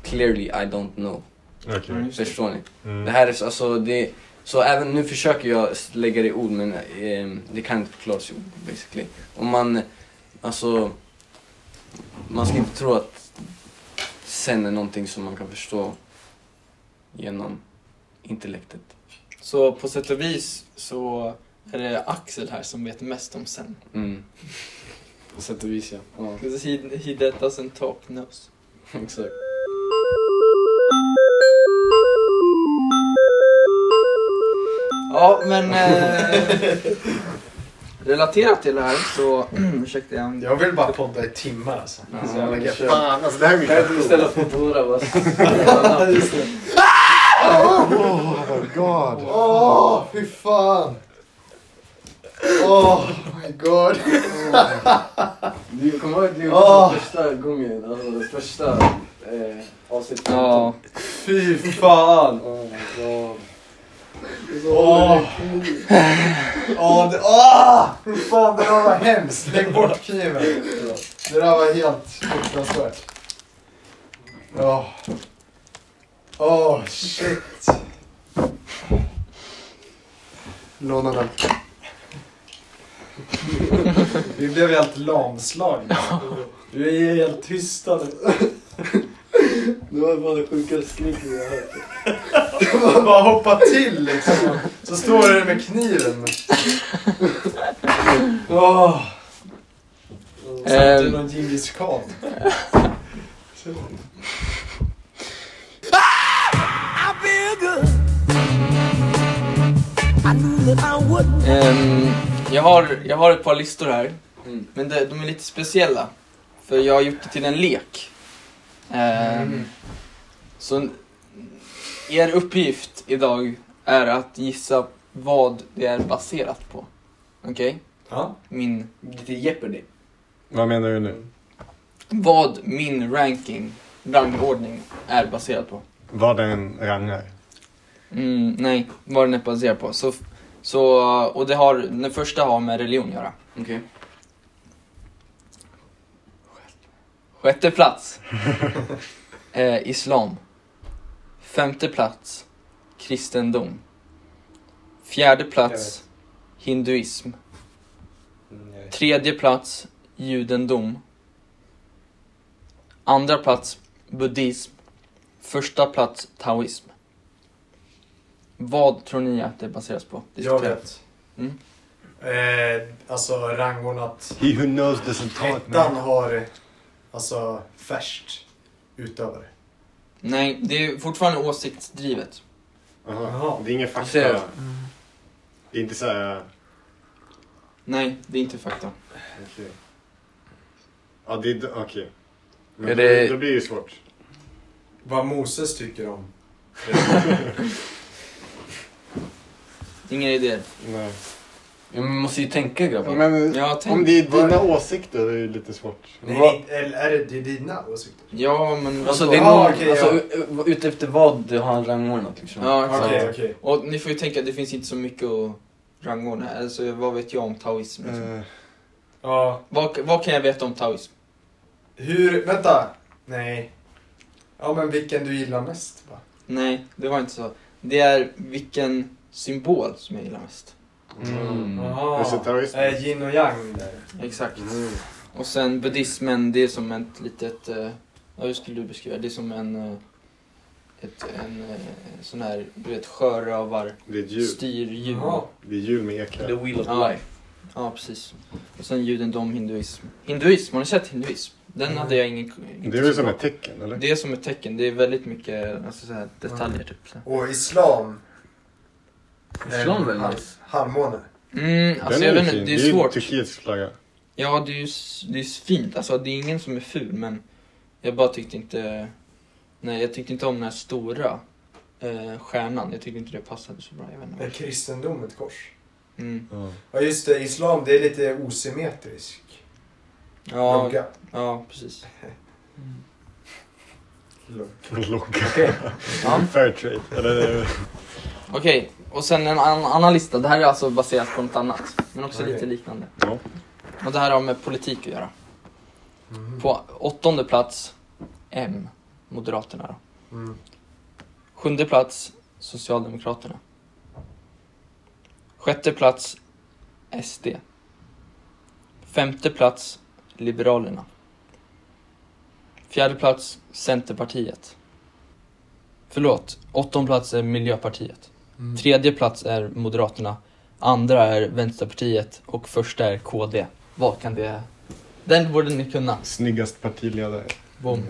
Speaker 3: clearly I don't know.
Speaker 4: Okej.
Speaker 5: Mm, just det.
Speaker 3: Förstår ni? Det
Speaker 4: Mm.
Speaker 3: här är så- alltså, det, så även nu försöker jag lägga det i ord men ehm, det kan inte förklaras i ord basically. Om man, alltså, man ska inte tro att sen är någonting som man kan förstå genom intellektet.
Speaker 5: Så på sätt och vis så är det Axel här som vet mest om sen.
Speaker 3: Mm. På sätt och vis ja. ja
Speaker 5: 'Cause He, he that doesn't talk knows.
Speaker 3: exakt.
Speaker 5: Ja, men... Eh, relaterat till det här så... ursäkta, jag...
Speaker 2: Jag vill bara podda i timmar alltså. alltså, jag lägger-
Speaker 3: kör.
Speaker 2: Fan, alltså det här är min
Speaker 3: Istället för Bora bara...
Speaker 4: Oh my god.
Speaker 2: Åh, fy fan! Oh my god!
Speaker 3: Du kommer ihåg det
Speaker 2: Åh.
Speaker 3: första gången, alltså första eh, avsnittet?
Speaker 5: Ja.
Speaker 2: Fy fan! Oh my god. Åh! Åh, det- åh! Fy fan, det där var hemskt. Lägg bort kniven. Det där var helt fruktansvärt. Ja. Åh, shit. Låna den. Vi blev helt lamslagna. Vi är helt tysta nu.
Speaker 3: Det var bara det sjukaste skriket jag hört.
Speaker 2: Man bara hoppa till liksom. Så står det med kniven. Åh. Satt du
Speaker 5: Ehm.
Speaker 2: någon Djingis khan?
Speaker 9: I feel good. I knew that I would.
Speaker 5: Ehm, jag, har, jag har ett par listor här.
Speaker 3: Mm.
Speaker 5: Men det, de är lite speciella. För jag har gjort det till en lek. Ehm, Så n- er uppgift idag är att gissa vad det är baserat på. Okej?
Speaker 2: Ja.
Speaker 5: Min,
Speaker 3: Lite Jeopardy.
Speaker 4: Vad menar du nu?
Speaker 5: vad min ranking, rangordning, är baserad på.
Speaker 4: Vad den rangar?
Speaker 5: Mm, nej, vad den är baserad på. Så, så, och det har, den första har med religion att göra.
Speaker 3: Okej.
Speaker 5: Sjätte plats. eh, islam. Femte plats. Kristendom. Fjärde plats. Hinduism. Tredje plats. Judendom. Andra plats. Buddhism. Första plats. Taoism. Vad tror ni att det baseras på?
Speaker 2: Jag
Speaker 5: Diskutera.
Speaker 2: vet.
Speaker 5: Mm.
Speaker 2: Eh, alltså rangordnat.
Speaker 4: He who knows doesn't talk
Speaker 2: Ettan
Speaker 4: man.
Speaker 2: har alltså färskt utövare.
Speaker 5: Nej, det är fortfarande åsiktsdrivet.
Speaker 2: Jaha.
Speaker 6: Jaha. Det är ingen fakta.
Speaker 3: Ser jag.
Speaker 6: Det är inte så här...
Speaker 5: Nej, det är inte fakta.
Speaker 6: Okej. Ja, det är... Okej. Men
Speaker 3: Är det-
Speaker 6: Då blir det ju svårt.
Speaker 2: Vad Moses tycker om.
Speaker 5: Inga idéer.
Speaker 6: Nej.
Speaker 3: Ja, men Vi måste ju tänka grabbar.
Speaker 6: Men
Speaker 5: Jag har tänkt...
Speaker 6: om det är dina åsikter är det ju lite svårt.
Speaker 3: Vad-
Speaker 2: Nej, eller är det, det är dina åsikter?
Speaker 5: Ja, men...
Speaker 3: Alltså det är
Speaker 2: Ah,
Speaker 3: någon,
Speaker 2: okej,
Speaker 3: alltså,
Speaker 2: ja.
Speaker 3: u- u- utefter vad du har rangordnat liksom.
Speaker 5: Ja,
Speaker 2: Okej,
Speaker 5: exakt.
Speaker 2: okej.
Speaker 5: Och ni får ju tänka, det finns inte så mycket att rangordna. Alltså, vad vet jag om taoism? Liksom?
Speaker 6: Eh,
Speaker 2: Ja.
Speaker 5: Vad, vad kan jag veta om taoism?
Speaker 2: Hur, vänta. Nej. Ja men vilken du gillar mest va?
Speaker 5: Nej, det var inte så. Det är vilken symbol som jag gillar mest.
Speaker 3: Mm.
Speaker 6: Jag ser terrorism.
Speaker 2: Eh, yin och yang där.
Speaker 5: Exakt.
Speaker 6: Mm.
Speaker 5: Och sen buddhismen, det är som ett litet... eh, Ja, hur skulle du beskriva det? Det är som en... eh, Ett, en eh, sån här, du vet, sjörövar,
Speaker 6: Det är ett hjul.
Speaker 5: styrhjul.
Speaker 2: Jaha.
Speaker 6: Det är hjul med ekar.
Speaker 3: The wheel of
Speaker 5: Ja.
Speaker 3: life.
Speaker 5: Ja, precis. Och sen judendom, hinduism. Hinduism, har ni sett hinduism? Den hade jag ingen...
Speaker 6: Mm. Det är väl som ett tecken, eller?
Speaker 5: Det är som ett tecken, det är väldigt mycket alltså, så här, detaljer typ. Så. här.
Speaker 2: Och islam.
Speaker 3: Islam väl
Speaker 2: Eh,
Speaker 3: nice?
Speaker 2: Halvmåne.
Speaker 5: Mm, alltså
Speaker 6: Den
Speaker 5: jag
Speaker 6: är ju
Speaker 5: vet inte,
Speaker 6: fin.
Speaker 5: det är svårt.
Speaker 6: ju Turkiets flagga.
Speaker 5: Ja, det är ju s- det är fint, alltså det är ingen som är ful men jag bara tyckte inte... Nej, jag tyckte inte om den här stora eh, stjärnan. Jag tyckte inte det passade så bra, jag vet inte.
Speaker 2: Är kristendom ett kors?
Speaker 5: Mm.
Speaker 2: Ja just det, islam det är lite osymmetrisk.
Speaker 5: Ja,
Speaker 2: Logga.
Speaker 5: ja, precis.
Speaker 6: Logga.
Speaker 5: Ja.
Speaker 6: Fairtrade. Eller...
Speaker 5: Mm,
Speaker 6: eh,
Speaker 5: Okej, och sen en an- annan lista. Det här är alltså baserat på något annat, men också
Speaker 2: Okej.
Speaker 5: lite liknande.
Speaker 6: Ja.
Speaker 5: Och det här har med politik att göra.
Speaker 2: Mm.
Speaker 5: På åttonde plats, M, Moderaterna då.
Speaker 2: Mm.
Speaker 5: Sjunde plats, Socialdemokraterna. Sjätte plats, SD. Femte plats, Liberalerna. Fjärde plats, Centerpartiet. Förlåt, åttonde plats är Miljöpartiet.
Speaker 2: Mm.
Speaker 5: Tredje plats är Moderaterna. Andra är Vänsterpartiet och första är KD. Vad kan det... Den borde ni kunna.
Speaker 6: Snyggast partiledare.
Speaker 5: Boom.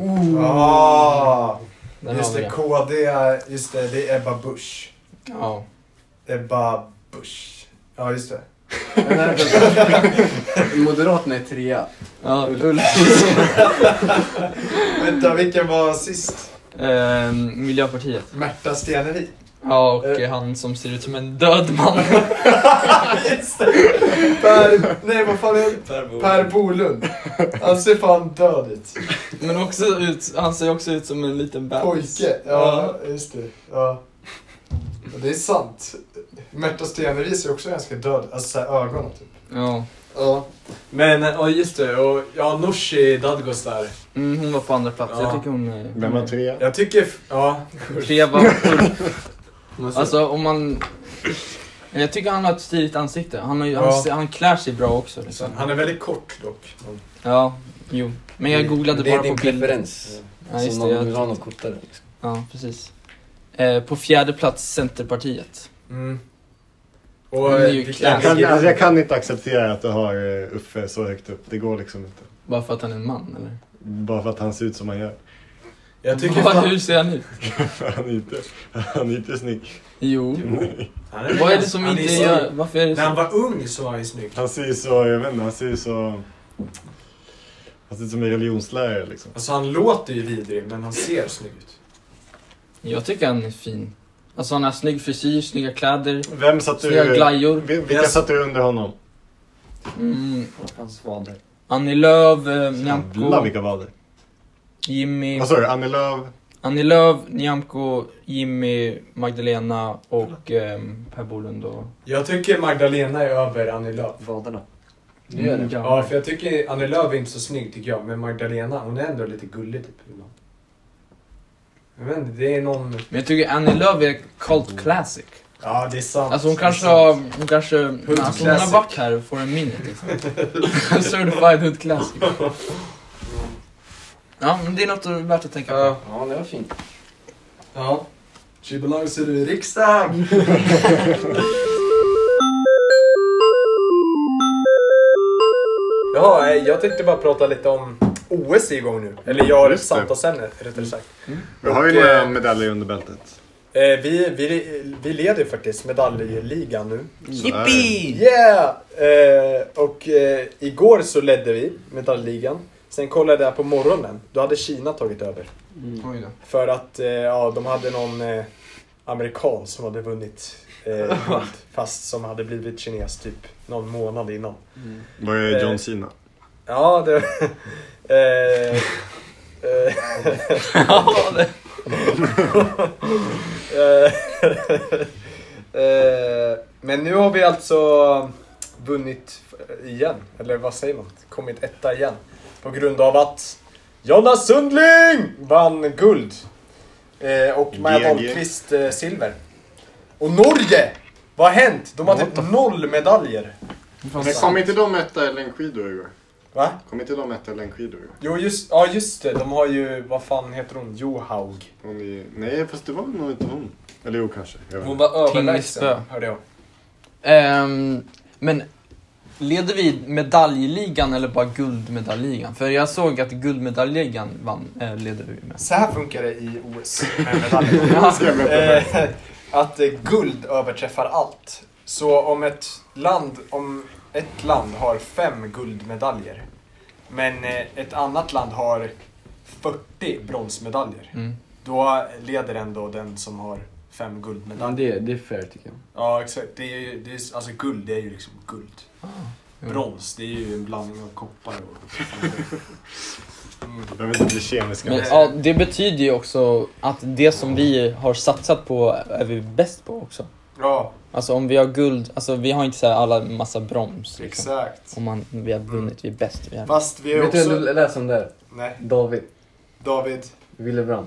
Speaker 2: Ah,
Speaker 5: Den
Speaker 2: just
Speaker 5: har vi
Speaker 2: det,
Speaker 5: den.
Speaker 2: KD, är- just det, det är Ebba Busch.
Speaker 5: Ja.
Speaker 2: Ebba Busch. Ja just det.
Speaker 3: Moderaterna är trea.
Speaker 5: ja.
Speaker 2: Vänta, vilken var sist?
Speaker 5: Ehm, Miljöpartiet.
Speaker 2: Märta Stenevi.
Speaker 5: Ja, och
Speaker 2: Eh.
Speaker 5: eh, han som ser ut som en död man.
Speaker 2: Just det. Per, nej vad fan är det? Per Bolund. Han ser fan död ut.
Speaker 5: Men också ut, han ser också ut som en liten bebis.
Speaker 2: Pojke. Ja, just det. Ja. Ja, Det är sant. Märta Stenevi ser också ganska död ut. Alltså såhär ögonen typ.
Speaker 5: Ja.
Speaker 2: Ja. Men, ja just det. Och ja, Nooshi Dadgostar.
Speaker 5: Mm, hon var på andra plats.
Speaker 2: Ja.
Speaker 5: Jag tycker hon... eh,
Speaker 6: Vem var trea?
Speaker 2: Jag tycker, ja.
Speaker 5: Tre var Alltså om man... Jag tycker han har ett stiligt ansikte. Han, har, ju- han,
Speaker 2: Ja.
Speaker 5: ser- han klär sig bra också. Liksom.
Speaker 2: Han är väldigt kort dock.
Speaker 5: Ja, jo. Men jag googlade
Speaker 3: Det är
Speaker 5: bara
Speaker 3: din
Speaker 5: på bilder.
Speaker 3: preferens.
Speaker 5: Ja,
Speaker 3: så
Speaker 5: just det.
Speaker 3: någon vill
Speaker 5: Jag,
Speaker 3: ha något kortare. Liksom.
Speaker 5: ja, precis. Eh, på fjärde plats Centerpartiet.
Speaker 2: Mm. Och
Speaker 5: Men det är ju
Speaker 2: vilken-
Speaker 5: klass.
Speaker 6: Jag kan, alltså jag kan inte acceptera att du har eh, Uffe så högt upp. Det går liksom inte.
Speaker 5: Bara för att han är en man eller?
Speaker 6: Bara för att han ser ut som han gör.
Speaker 2: jag tycker
Speaker 5: Vad-
Speaker 2: fan,
Speaker 5: Hur ser han ut?
Speaker 6: han är inte, han är inte snygg.
Speaker 5: Jo.
Speaker 2: han är
Speaker 5: Vad är det som
Speaker 2: han är
Speaker 5: inte
Speaker 2: snygg.
Speaker 5: gör... Varför är det
Speaker 2: När han
Speaker 5: så?
Speaker 2: var ung så var han ju snygg.
Speaker 6: Han ser ju så, jag vet inte, han ser ju så... Han ser ut som en religionslärare liksom.
Speaker 2: Alltså han låter ju vidrig men han ser snygg ut.
Speaker 5: Jag tycker han är fin. Alltså han har snygg frisyr, snygga kläder,
Speaker 6: Vem satt
Speaker 5: snygga
Speaker 6: du...
Speaker 5: glajjor.
Speaker 6: vi- Vilka
Speaker 2: Jag-
Speaker 6: satt du under honom?
Speaker 5: Mm.
Speaker 7: Hans fader.
Speaker 5: Annie Lööf, eh,
Speaker 6: Jävlar
Speaker 5: Nyamko,
Speaker 6: vilka vader.
Speaker 5: Jimmy.
Speaker 2: Alltså-
Speaker 6: Vad sa du? Annie Lööf?
Speaker 5: Annie Lööf, Nyamko, Jimmy, Magdalena och ehm, Per Bolund och...
Speaker 2: Jag tycker Magdalena är över Annie Lööf.
Speaker 7: Vaderna.
Speaker 5: Nu är det.
Speaker 2: Ja, för jag tycker Annie Lööf är inte så snygg tycker jag. Men Magdalena, hon är ändå lite gullig typ. ibland. Jag vet inte, det är någon...
Speaker 5: Men jag tycker Annie Lööf är cult classic.
Speaker 2: Ja, det är sant.
Speaker 5: Alltså hon
Speaker 2: Det är
Speaker 5: kanske
Speaker 2: sant.
Speaker 5: har... Hon kanske... Alltså hon har
Speaker 2: classic.
Speaker 5: varit här for a minute liksom. Certified hood classic. Ja, men det är något värt att tänka på.
Speaker 2: Ja.
Speaker 3: Ja, det var fint.
Speaker 2: Ja.
Speaker 3: She belongs to the riksdag!
Speaker 2: Ja, eh, jag tänkte bara prata lite om OS är igång nu. Eller jag har ett samtalsämne rättare sagt.
Speaker 4: Vi har ju
Speaker 2: Och,
Speaker 4: några
Speaker 2: eh,
Speaker 4: medaljer under bältet.
Speaker 2: Eh, vi, vi, vi leder faktiskt medaljligan nu.
Speaker 4: Så är det. Yippee!
Speaker 2: Yeah! Eh, och eh, igår så ledde vi medaljligan. Sen kollade jag på morgonen. Då hade Kina tagit över.
Speaker 5: Oj då.
Speaker 2: För att eh, ja, de hade någon eh, amerikan som hade vunnit eh, guld, fast som hade blivit kines typ någon månad innan.
Speaker 4: Var är
Speaker 2: Eh,
Speaker 4: John Cena?
Speaker 2: Ja, det... eh, eh, Eh, eh, Men nu har vi alltså vunnit igen, eller vad säger man? Kommit etta igen. På grund av att Jonas Sundling vann guld. Eh, Och Maja
Speaker 4: GG.
Speaker 2: Dahlqvist eh, silver. Och Norge! Vad har hänt? De har typ noll medaljer.
Speaker 4: Men kom inte de etta eller en skidor igår?
Speaker 2: Va?
Speaker 4: Kom inte de etta eller en skidor igår?
Speaker 2: Jo, just, ja, just det. De har ju, vad fan heter hon? Johaug.
Speaker 4: Hon är... Nej, fast det var nog inte hon. Eller jo, kanske. Jag vet
Speaker 2: Hon
Speaker 4: inte.
Speaker 2: var överlägsen,
Speaker 5: Tingnesbö.
Speaker 2: hörde jag.
Speaker 5: Ehm, men leder vi medaljligan eller bara guldmedaljligan? För jag såg att guldmedaljligan vann, eh, leder vi med.
Speaker 2: Så här funkar det i OS med medaljer. Eh, att eh, guld överträffar allt. Så om ett land, om ett land har fem guldmedaljer men eh, ett annat land har 40 bronsmedaljer.
Speaker 5: Mm.
Speaker 2: Då leder ändå den som har fem guldmedaljer.
Speaker 10: det, det är fair tycker jag.
Speaker 2: Ja, exakt. Det är ju, det är, alltså guld, det är ju liksom guld.
Speaker 3: Ah,
Speaker 5: jo.
Speaker 2: Brons, det är ju en blandning av koppar och... Mm.
Speaker 4: Jag vill inte bli kemisk.
Speaker 5: Men, ja, det betyder ju också att det som vi har satsat på är vi bäst på också.
Speaker 2: Ja,
Speaker 5: Alltså om vi har guld, alltså vi har inte så här alla massa broms. Liksom.
Speaker 2: exakt.
Speaker 5: Om man, vi har vunnit, vi är bäst. Vi är...
Speaker 2: Fast vi är
Speaker 3: Vet du vem
Speaker 2: också...
Speaker 3: du läste om där?
Speaker 2: Nej,
Speaker 3: David
Speaker 2: David.
Speaker 3: Willebrand.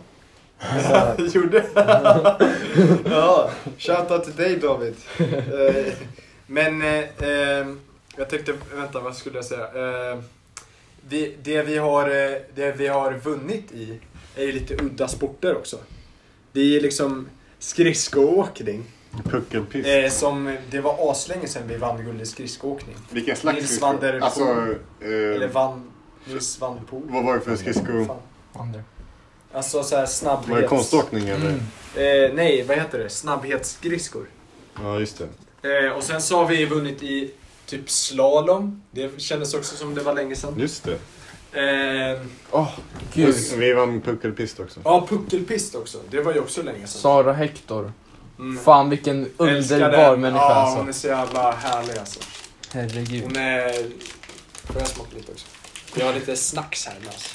Speaker 2: Gjorde? ja, shoutout till dig David. Eh, Men eh, eh, jag tänkte, vänta vad skulle jag säga? Eh, vi, det, vi har, eh, det vi har vunnit i är ju lite udda sporter också. Det är liksom skridskoåkning.
Speaker 4: Puckelpiss.
Speaker 2: Eh, som, det var aslänge sedan vi vann guld i skridskoåkning.
Speaker 4: Vilken slags
Speaker 2: Nils
Speaker 4: skridsko?
Speaker 2: van der
Speaker 4: Alltså,
Speaker 2: Poel.
Speaker 4: eh,
Speaker 2: Eller vann, Nils van Poel.
Speaker 4: vad var det för skridsko?
Speaker 2: Fan. Alltså såhär snabbhets...
Speaker 4: Var det konståkning eller?
Speaker 5: Mm.
Speaker 2: Eh, nej, vad heter det? Snabbhetsskridskor.
Speaker 4: Ja, just det.
Speaker 2: Eh, och sen så har vi vunnit i typ slalom. Det kändes också som det var länge sedan.
Speaker 4: Just det.
Speaker 2: Eh,
Speaker 4: Puss- Vi vann puckelpist också.
Speaker 2: ja, puckelpist också. Det var ju också länge sedan.
Speaker 5: Sara Hector.
Speaker 2: Mm.
Speaker 5: Fan vilken
Speaker 2: Älskar
Speaker 5: underbar
Speaker 2: den.
Speaker 5: människa
Speaker 2: ja, hon
Speaker 5: alltså.
Speaker 2: är så jävla härlig alltså.
Speaker 5: Herregud.
Speaker 2: Hon är... Får jag smaka lite också? Jag har lite snacks här med oss.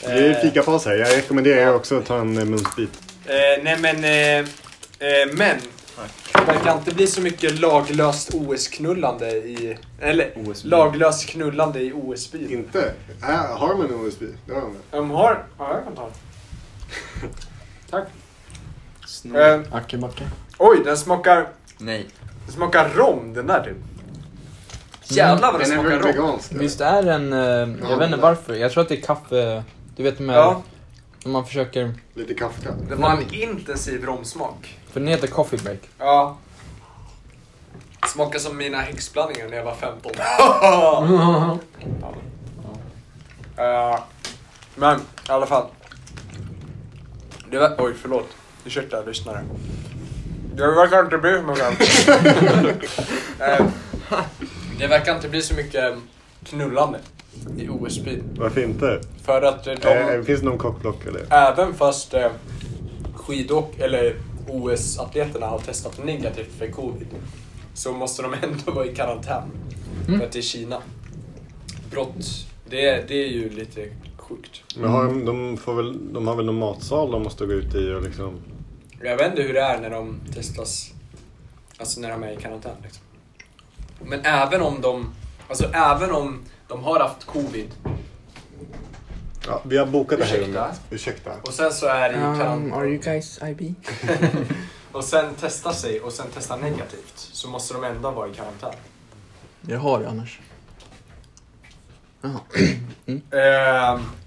Speaker 4: Det är ju fikapaus här. Jag rekommenderar er också att ta en eh, munsbit.
Speaker 2: Eh, nej men... Eh, eh, men. Det verkar inte bli så mycket laglöst OS-knullande i... Eller laglöst knullande i OS-byn.
Speaker 4: Inte? Här, har de en munsbit? Det har de.
Speaker 2: De har... Ja, jag kan ta den. Tack.
Speaker 11: Snor.
Speaker 2: Eh,
Speaker 10: Ackebacke.
Speaker 2: oj, den smakar...
Speaker 11: Nej.
Speaker 2: Den smakar rom den där typ. Jävlar vad den
Speaker 4: Den är
Speaker 2: smakar
Speaker 4: väl
Speaker 2: rom.
Speaker 4: vegansk? eller?
Speaker 5: Visst är den, eh, jag vet inte varför, jag tror att det är kaffe, du vet med,
Speaker 2: Ja,
Speaker 5: när man försöker,
Speaker 4: Lite Kafka.
Speaker 2: den har en intensiv romsmak.
Speaker 5: för den heter coffee break.
Speaker 2: Ja. Smakar som mina häxblandningar när jag var 15. Eh, men i alla fall. Det var, oj, förlåt. Ursäkta lyssnare. Det verkar inte bli så mycket. Eh, det verkar inte bli så mycket knullande i OS-byn.
Speaker 4: Varför inte?
Speaker 2: För att eh, de,
Speaker 4: Eh, finns det någon kockblock eller?
Speaker 2: även fast eh, skidåk eller OS-atleterna har testat negativt för covid så måste de ändå vara i karantän. För att det är Kina. Brott, det, är- det är ju lite sjukt.
Speaker 4: Men har de, de, får väl, de har väl någon matsal de måste gå ut i och liksom...
Speaker 2: Jag vet inte hur det är när de testas, alltså när de är i karantän. Liksom. Men även om de, alltså även om de har haft covid
Speaker 4: Ja, vi har bokat det här
Speaker 2: Ursäkta.
Speaker 4: rummet. Ursäkta.
Speaker 2: och sen så är det i karantän
Speaker 5: Um, you guys IB?
Speaker 2: och sen testar sig och sen testar negativt så måste de ändå vara i karantän.
Speaker 5: Jag har det annars.
Speaker 2: Ehm,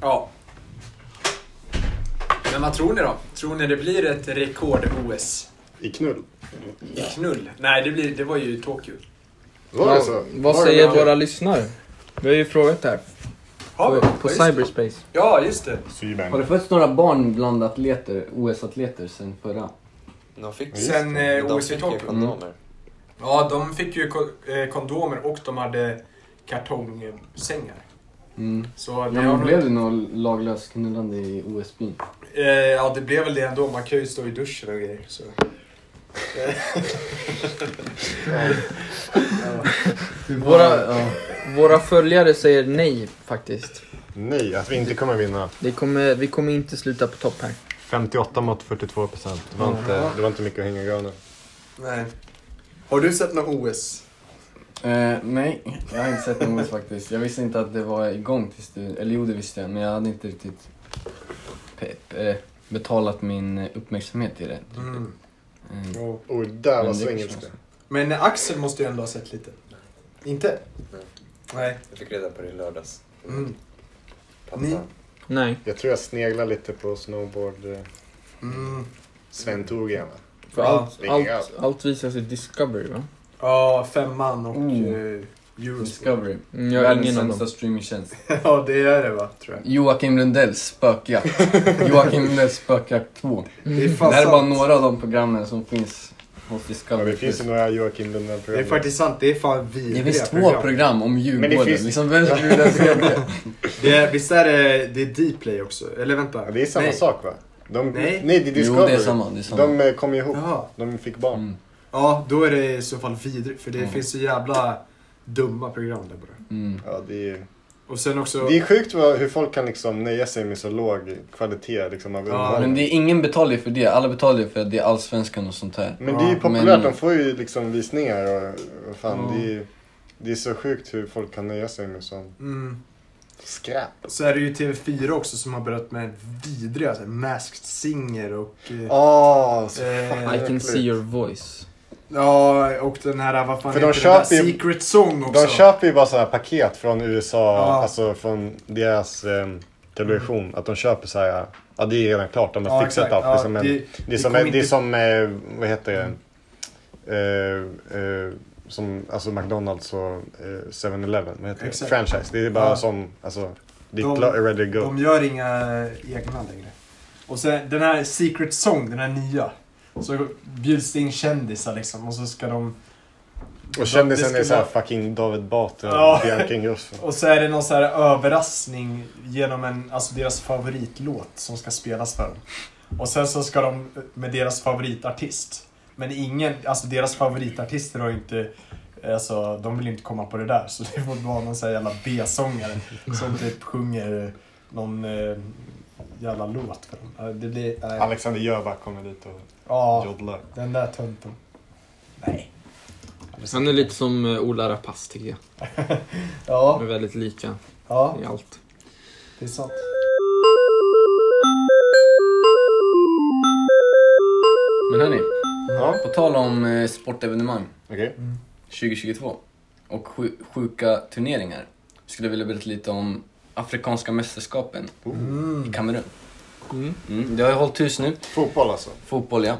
Speaker 2: ja.
Speaker 12: Men vad tror ni då? Tror ni det blir ett rekord-OS?
Speaker 4: I knull?
Speaker 12: I knull? Nej, det, blir, det var ju Tokyo.
Speaker 4: Var det så?
Speaker 5: Vad
Speaker 12: Var det
Speaker 5: säger
Speaker 12: bra?
Speaker 5: våra lyssnare? Vi har ju frågat det här.
Speaker 12: Har vi?
Speaker 5: På, på
Speaker 12: Ja, just det.
Speaker 5: cyberspace.
Speaker 12: Ja, just det.
Speaker 3: Har det fötts några barn bland atleter, OS-atleter sen förra?
Speaker 12: De fick- Sen, eh, De OS i fick ju Tokyo. kondomer. Ja, de fick ju ko- eh, kondomer och de hade kartongsängar.
Speaker 3: Mm.
Speaker 12: Så
Speaker 3: ja,
Speaker 12: det har
Speaker 3: men
Speaker 12: nog-
Speaker 3: blev det något laglöst knullande i OS-byn?
Speaker 12: Eh, ja, det blev väl det ändå. Man kan ju stå i duschen och grejer. Så.
Speaker 5: Våra, våra följare säger nej faktiskt.
Speaker 13: Nej, att vi inte kommer vinna.
Speaker 5: Det kommer, vi kommer inte sluta på topp här.
Speaker 13: 58 mot 42 procent. Det, var
Speaker 5: Ja.
Speaker 13: inte- det var inte mycket att hänga i granen.
Speaker 2: Nej. Har du sett något OS?
Speaker 3: Eh, nej, jag har inte sett något OS faktiskt. Jag visste inte att det var igång tills du... Eller jo, det visste jag, men jag hade inte riktigt pe- pe- eh, betalat min uppmärksamhet i det.
Speaker 2: Mm.
Speaker 3: Eh,
Speaker 4: Och där var
Speaker 3: Men det
Speaker 4: svängen.
Speaker 3: kanske-
Speaker 2: Men Axel måste ju ändå ha sett lite. Inte? Nej.
Speaker 3: Jag fick reda på det i lördags.
Speaker 2: Mm. Ni?
Speaker 5: Nej.
Speaker 4: Jag tror jag sneglar lite på snowboard... eh,
Speaker 2: Mm.
Speaker 4: Sven Thorgren va?
Speaker 5: För allt,
Speaker 4: Vilken
Speaker 5: allt,
Speaker 4: jävla-
Speaker 5: allt visas i Discovery va?
Speaker 2: Ja, femman och
Speaker 3: Mm.
Speaker 2: eh, Eurosport.
Speaker 3: Discovery.
Speaker 5: Mm, jag har
Speaker 3: Världens
Speaker 5: ingen av
Speaker 3: sämsta
Speaker 5: dem.
Speaker 3: streamingtjänst.
Speaker 2: ja, det är det va, tror jag.
Speaker 3: Joakim Lundells spökjakt. Joakim Lundells spökjakt 2.
Speaker 2: Det är
Speaker 3: Det,
Speaker 2: fan
Speaker 3: här är bara
Speaker 2: sant.
Speaker 3: några av de programmen som finns hos Discovery.
Speaker 4: Det finns ju några Joakim Lundell-program.
Speaker 2: Det är faktiskt sant, det är fan
Speaker 3: Det
Speaker 2: vidriga
Speaker 3: finns två program om Djurgården.
Speaker 2: Men det finns-
Speaker 3: Liksom, vem skulle vilja se det?
Speaker 2: Det är, visst är det, det är Dplay också? Eller vänta.
Speaker 4: Det är samma
Speaker 2: Nej.
Speaker 4: sak va? De,
Speaker 2: Nej.
Speaker 4: nej. det är Discovery.
Speaker 3: Jo, det är samma, det är samma. Mm.
Speaker 4: De eh, kom ju ihop.
Speaker 2: Jaha.
Speaker 4: De fick barn.
Speaker 2: Ja, då är det i så fall vidrigt. För det finns så jävla dumma program där bara.
Speaker 3: Mm.
Speaker 4: Ja, det är ju...
Speaker 2: Och sen också...
Speaker 4: Det är sjukt vad, hur folk kan liksom nöja sig med så låg kvalitet liksom, av
Speaker 3: Ja,
Speaker 4: underhållning.
Speaker 3: men det är ingen betalar ju för det. Alla betalar ju för att det är Allsvenskan och sånt här.
Speaker 4: Men det är ju
Speaker 3: Ja.
Speaker 4: populärt,
Speaker 3: Men-
Speaker 4: de får ju liksom visningar och, och fan
Speaker 2: Ja.
Speaker 4: det är ju... Det är så sjukt hur folk kan nöja sig med sån
Speaker 2: Mm.
Speaker 4: skräp.
Speaker 2: Så är det ju TV4 också som har börjat med vidriga så här, Masked Singer och... eh,
Speaker 4: Åh, Ah, så
Speaker 2: eh,
Speaker 4: fan
Speaker 5: I can
Speaker 4: äckligt.
Speaker 5: see your voice.
Speaker 2: Ja, och den här, vad fan
Speaker 4: För de
Speaker 2: heter den där?
Speaker 4: köper ju-
Speaker 2: Secret Song också.
Speaker 4: De köper ju bara sådana här paket från USA,
Speaker 2: Ja.
Speaker 4: alltså från deras eh, television. Att de köper så här, ja det är redan klart, de har
Speaker 2: Ja,
Speaker 4: fixat
Speaker 2: exakt.
Speaker 4: allt. liksom, det
Speaker 2: Ja,
Speaker 4: är som, en,
Speaker 2: det-
Speaker 4: det,
Speaker 2: det
Speaker 4: är som,
Speaker 2: kommer
Speaker 4: en, det är
Speaker 2: inte-
Speaker 4: som eh, vad heter det? Eh, eh, som, alltså McDonalds och eh, 7-Eleven, vad heter det?
Speaker 2: Exakt.
Speaker 4: Franchise. Det är bara
Speaker 2: Ja.
Speaker 4: sån, alltså, det är
Speaker 2: De-
Speaker 4: klart, ready to go.
Speaker 2: De gör inga egna längre. Och sen den här Secret Song, den här nya. Så bjuds det in kändisar liksom och så ska de... de-
Speaker 4: och kändisen
Speaker 2: det
Speaker 4: är
Speaker 2: skulle-
Speaker 4: såhär fucking David Batra
Speaker 2: Ja.
Speaker 4: och Bianca Ingrosso.
Speaker 2: Och så är det någon så här överraskning genom en, alltså deras favoritlåt som ska spelas för dem. Och sen så ska de med deras favoritartist. Men ingen, alltså deras favoritartister har ju inte, alltså de vill inte komma på det där. Så det får vara någon så här jävla B-sångare som typ sjunger någon eh, jävla låt för dem. Eh, Det blir, nej.
Speaker 4: Alexander Jöback kommer dit och
Speaker 2: Ja,
Speaker 4: joddlar.
Speaker 2: den där tönten. Nej.
Speaker 5: Han är lite som eh, Ola Rapace tycker jag.
Speaker 2: Ja,
Speaker 5: De är väldigt lika
Speaker 2: ja,
Speaker 5: i allt.
Speaker 2: det är sant.
Speaker 3: Men hörni,
Speaker 4: Ja.
Speaker 3: på tal om eh, sportevenemang
Speaker 4: Okej.
Speaker 3: 2022 och sju, sjuka turneringar. Skulle jag vilja berätta lite om Afrikanska mästerskapen i Kamerun.
Speaker 5: Mm.
Speaker 3: Mm, det har jag hållit hus nu.
Speaker 4: Fotboll alltså.
Speaker 3: Fotboll ja.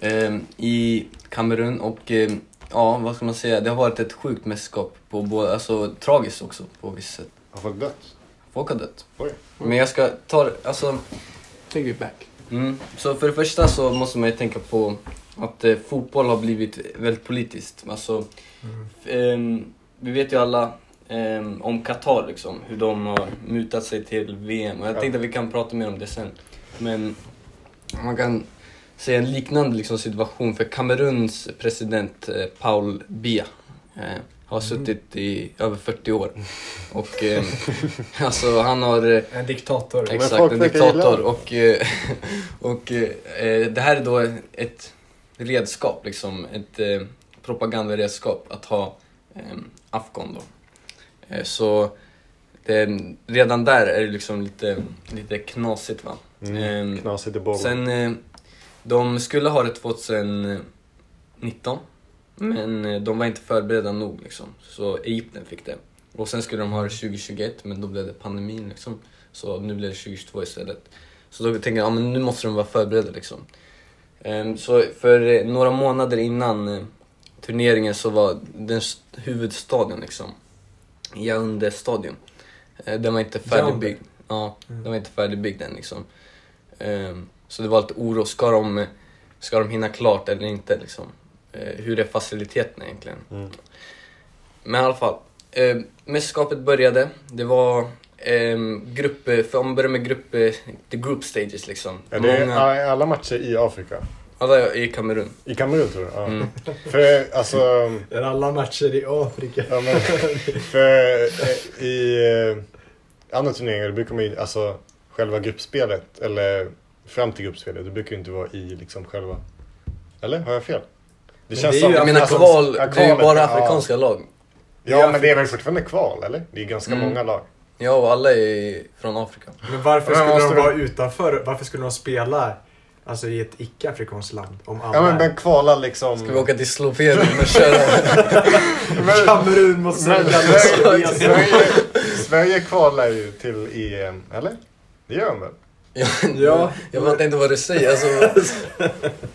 Speaker 3: Ehm, I Kamerun och ehm, ja, vad ska man säga? Det har varit ett sjukt mästerskap. På, både- alltså tragiskt också på visst sätt.
Speaker 4: Har folk dött?
Speaker 3: Folk har dött.
Speaker 4: Oj.
Speaker 3: Men jag ska ta alltså...
Speaker 5: Take it back.
Speaker 3: Mm. Så för det första så måste man ju tänka på att eh, fotboll har blivit väldigt politiskt. Alltså, ehm, vi vet ju alla ehm, om Qatar liksom, hur de har mutat sig till VM och jag
Speaker 4: Ja.
Speaker 3: tänkte att vi kan prata mer om det sen. Men man kan se en liknande liksom, situation för Kameruns president eh, Paul Biya eh, har suttit i över 40 år. Och ehm, alltså han har eh,
Speaker 2: En diktator.
Speaker 4: Men
Speaker 3: Exakt,
Speaker 4: folk
Speaker 3: en
Speaker 4: verkar gilla
Speaker 3: diktator.
Speaker 4: det.
Speaker 3: Och, eh, och eh, det här är då ett redskap, liksom, ett eh, propagandaredskap att ha eh, Afghan då. Eh, så det, redan där är det liksom lite, lite knasigt va.
Speaker 4: Mm.
Speaker 3: Ehm,
Speaker 4: Knasigt i bollen.
Speaker 3: Sen, eh, de skulle ha det 2019, men eh, de var inte förberedda nog liksom. Så Egypten fick det. Och sen skulle de ha det 2021, men då blev det pandemin liksom. Så nu blev det 2022 istället. Så då tänker jag, ja men nu måste de vara förberedda liksom. Ehm, Så för eh, några månader innan eh, turneringen så var den s- huvudstadion liksom, Yaoundé stadion, eh, den var inte färdigbyggd. Ja, den var inte färdigbyggd än liksom. Ehm, Så det var lite oro, ska de, ska de hinna klart eller inte liksom? Eh, Hur är faciliteterna egentligen?
Speaker 4: Mm.
Speaker 3: Men i alla fall. Eh, mästerskapet började. Det var eh, grupp... För man börjar med grupp... Eh, the group stages liksom.
Speaker 4: Ja, det är
Speaker 3: Många,
Speaker 4: a- alla matcher i Afrika.
Speaker 3: alla i Kamerun.
Speaker 4: I Kamerun tror jag. Ja.
Speaker 3: Mm.
Speaker 4: För alltså...
Speaker 14: Det är alla matcher i Afrika.
Speaker 4: Ja, men, för eh, i eh, andra turneringar då brukar man ju, alltså själva gruppspelet, eller fram till gruppspelet, det brukar ju inte vara i liksom själva... Eller? Har jag fel?
Speaker 3: Men det är ju- jag menar
Speaker 4: alltså,
Speaker 3: kval, det är ju bara afrikanska lag.
Speaker 4: Ja,
Speaker 3: Det är
Speaker 4: men det är väl fortfarande kval, eller? Det är ganska
Speaker 3: Mm.
Speaker 4: många lag.
Speaker 3: Ja, och alla är från Afrika.
Speaker 2: Men varför
Speaker 4: Men
Speaker 2: skulle de
Speaker 4: måste de-
Speaker 2: vara utanför? Varför skulle de spela alltså, i ett icke-afrikanskt land? Om alla
Speaker 4: Ja, men, men kvala liksom...
Speaker 3: Ska vi åka till Slovenien och köra?
Speaker 4: Men-
Speaker 2: Kamerun måste
Speaker 4: men,
Speaker 2: välja
Speaker 4: Sverige,
Speaker 2: Lucia.
Speaker 4: Sverige, Sverige kvalar ju till EM, eller? Det gör de väl?
Speaker 3: ja, jag fattar inte vad du säger. Alltså,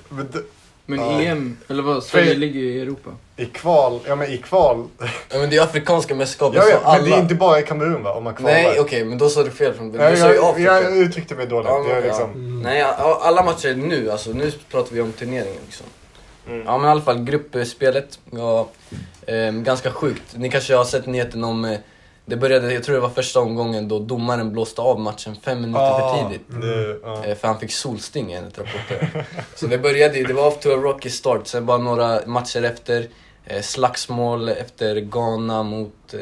Speaker 4: Men d-
Speaker 5: Men
Speaker 4: Ja.
Speaker 5: EM, eller vad, Sverige
Speaker 4: För-
Speaker 5: ligger ju i Europa.
Speaker 4: I kval, ja men i kval.
Speaker 3: ja, men det är afrikanska mästerskapet,
Speaker 4: Jag
Speaker 3: så
Speaker 4: vet,
Speaker 3: alla...
Speaker 4: men det är inte bara i Kamerun va? Om man kvalar.
Speaker 3: Nej, okej, men då sa du fel från början.
Speaker 4: Nej,
Speaker 3: Du sa ju
Speaker 4: jag,
Speaker 3: Afrika.
Speaker 4: jag uttryckte mig dåligt.
Speaker 3: Ja, Mm. men,
Speaker 4: jag,
Speaker 3: ja.
Speaker 4: liksom,
Speaker 3: Nej, ja, alla matcher är nu, alltså nu pratar vi om turneringen liksom. Ja men i alla fall, gruppspelet var eh, ganska sjukt. Ni kanske har sett nyheten om, eh, det började, jag tror det var första omgången då domaren blåste av matchen fem minuter för tidigt.
Speaker 4: Det, ja.
Speaker 3: Eh, För han fick solsting enligt rapporter. Så det började ju, det var off to a rocky start. Sen bara några matcher efter, eh, slagsmål efter Ghana mot... eh,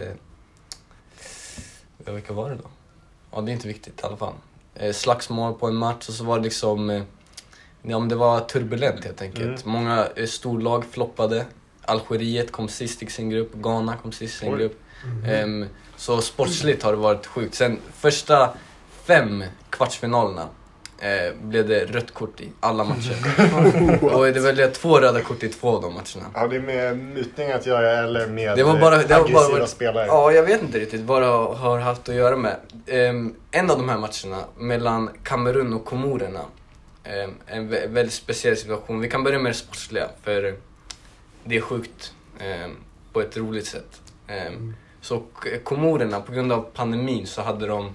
Speaker 3: Ja, vilka var det då? Ja, det är inte viktigt i alla fall. Eh, Slagsmål på en match och så var det liksom... eh, Ja, men det var turbulent helt enkelt. Många eh, storlag floppade. Algeriet kom sist i sin grupp, Ghana kom sist i sin
Speaker 4: Oj.
Speaker 3: grupp. Ehm, så sportsligt har det varit sjukt. Sen första fem kvartsfinalerna eh, blev det rött kort i alla matcher. och det blev två röda kort i två av de matcherna.
Speaker 4: har det med mutning att göra eller med
Speaker 3: Det var bara-
Speaker 4: eh,
Speaker 3: det var bara-
Speaker 4: aggressiva spelare?
Speaker 3: Ja, jag vet inte riktigt vad det har haft att göra med. Ehm, en av de här matcherna mellan Kamerun och Komorerna. ehm, en vä- väldigt speciell situation. Vi kan börja med det sportsliga, för det är sjukt ehm, på ett roligt sätt. Ehm, Så K- Komorerna, på grund av pandemin, så hade de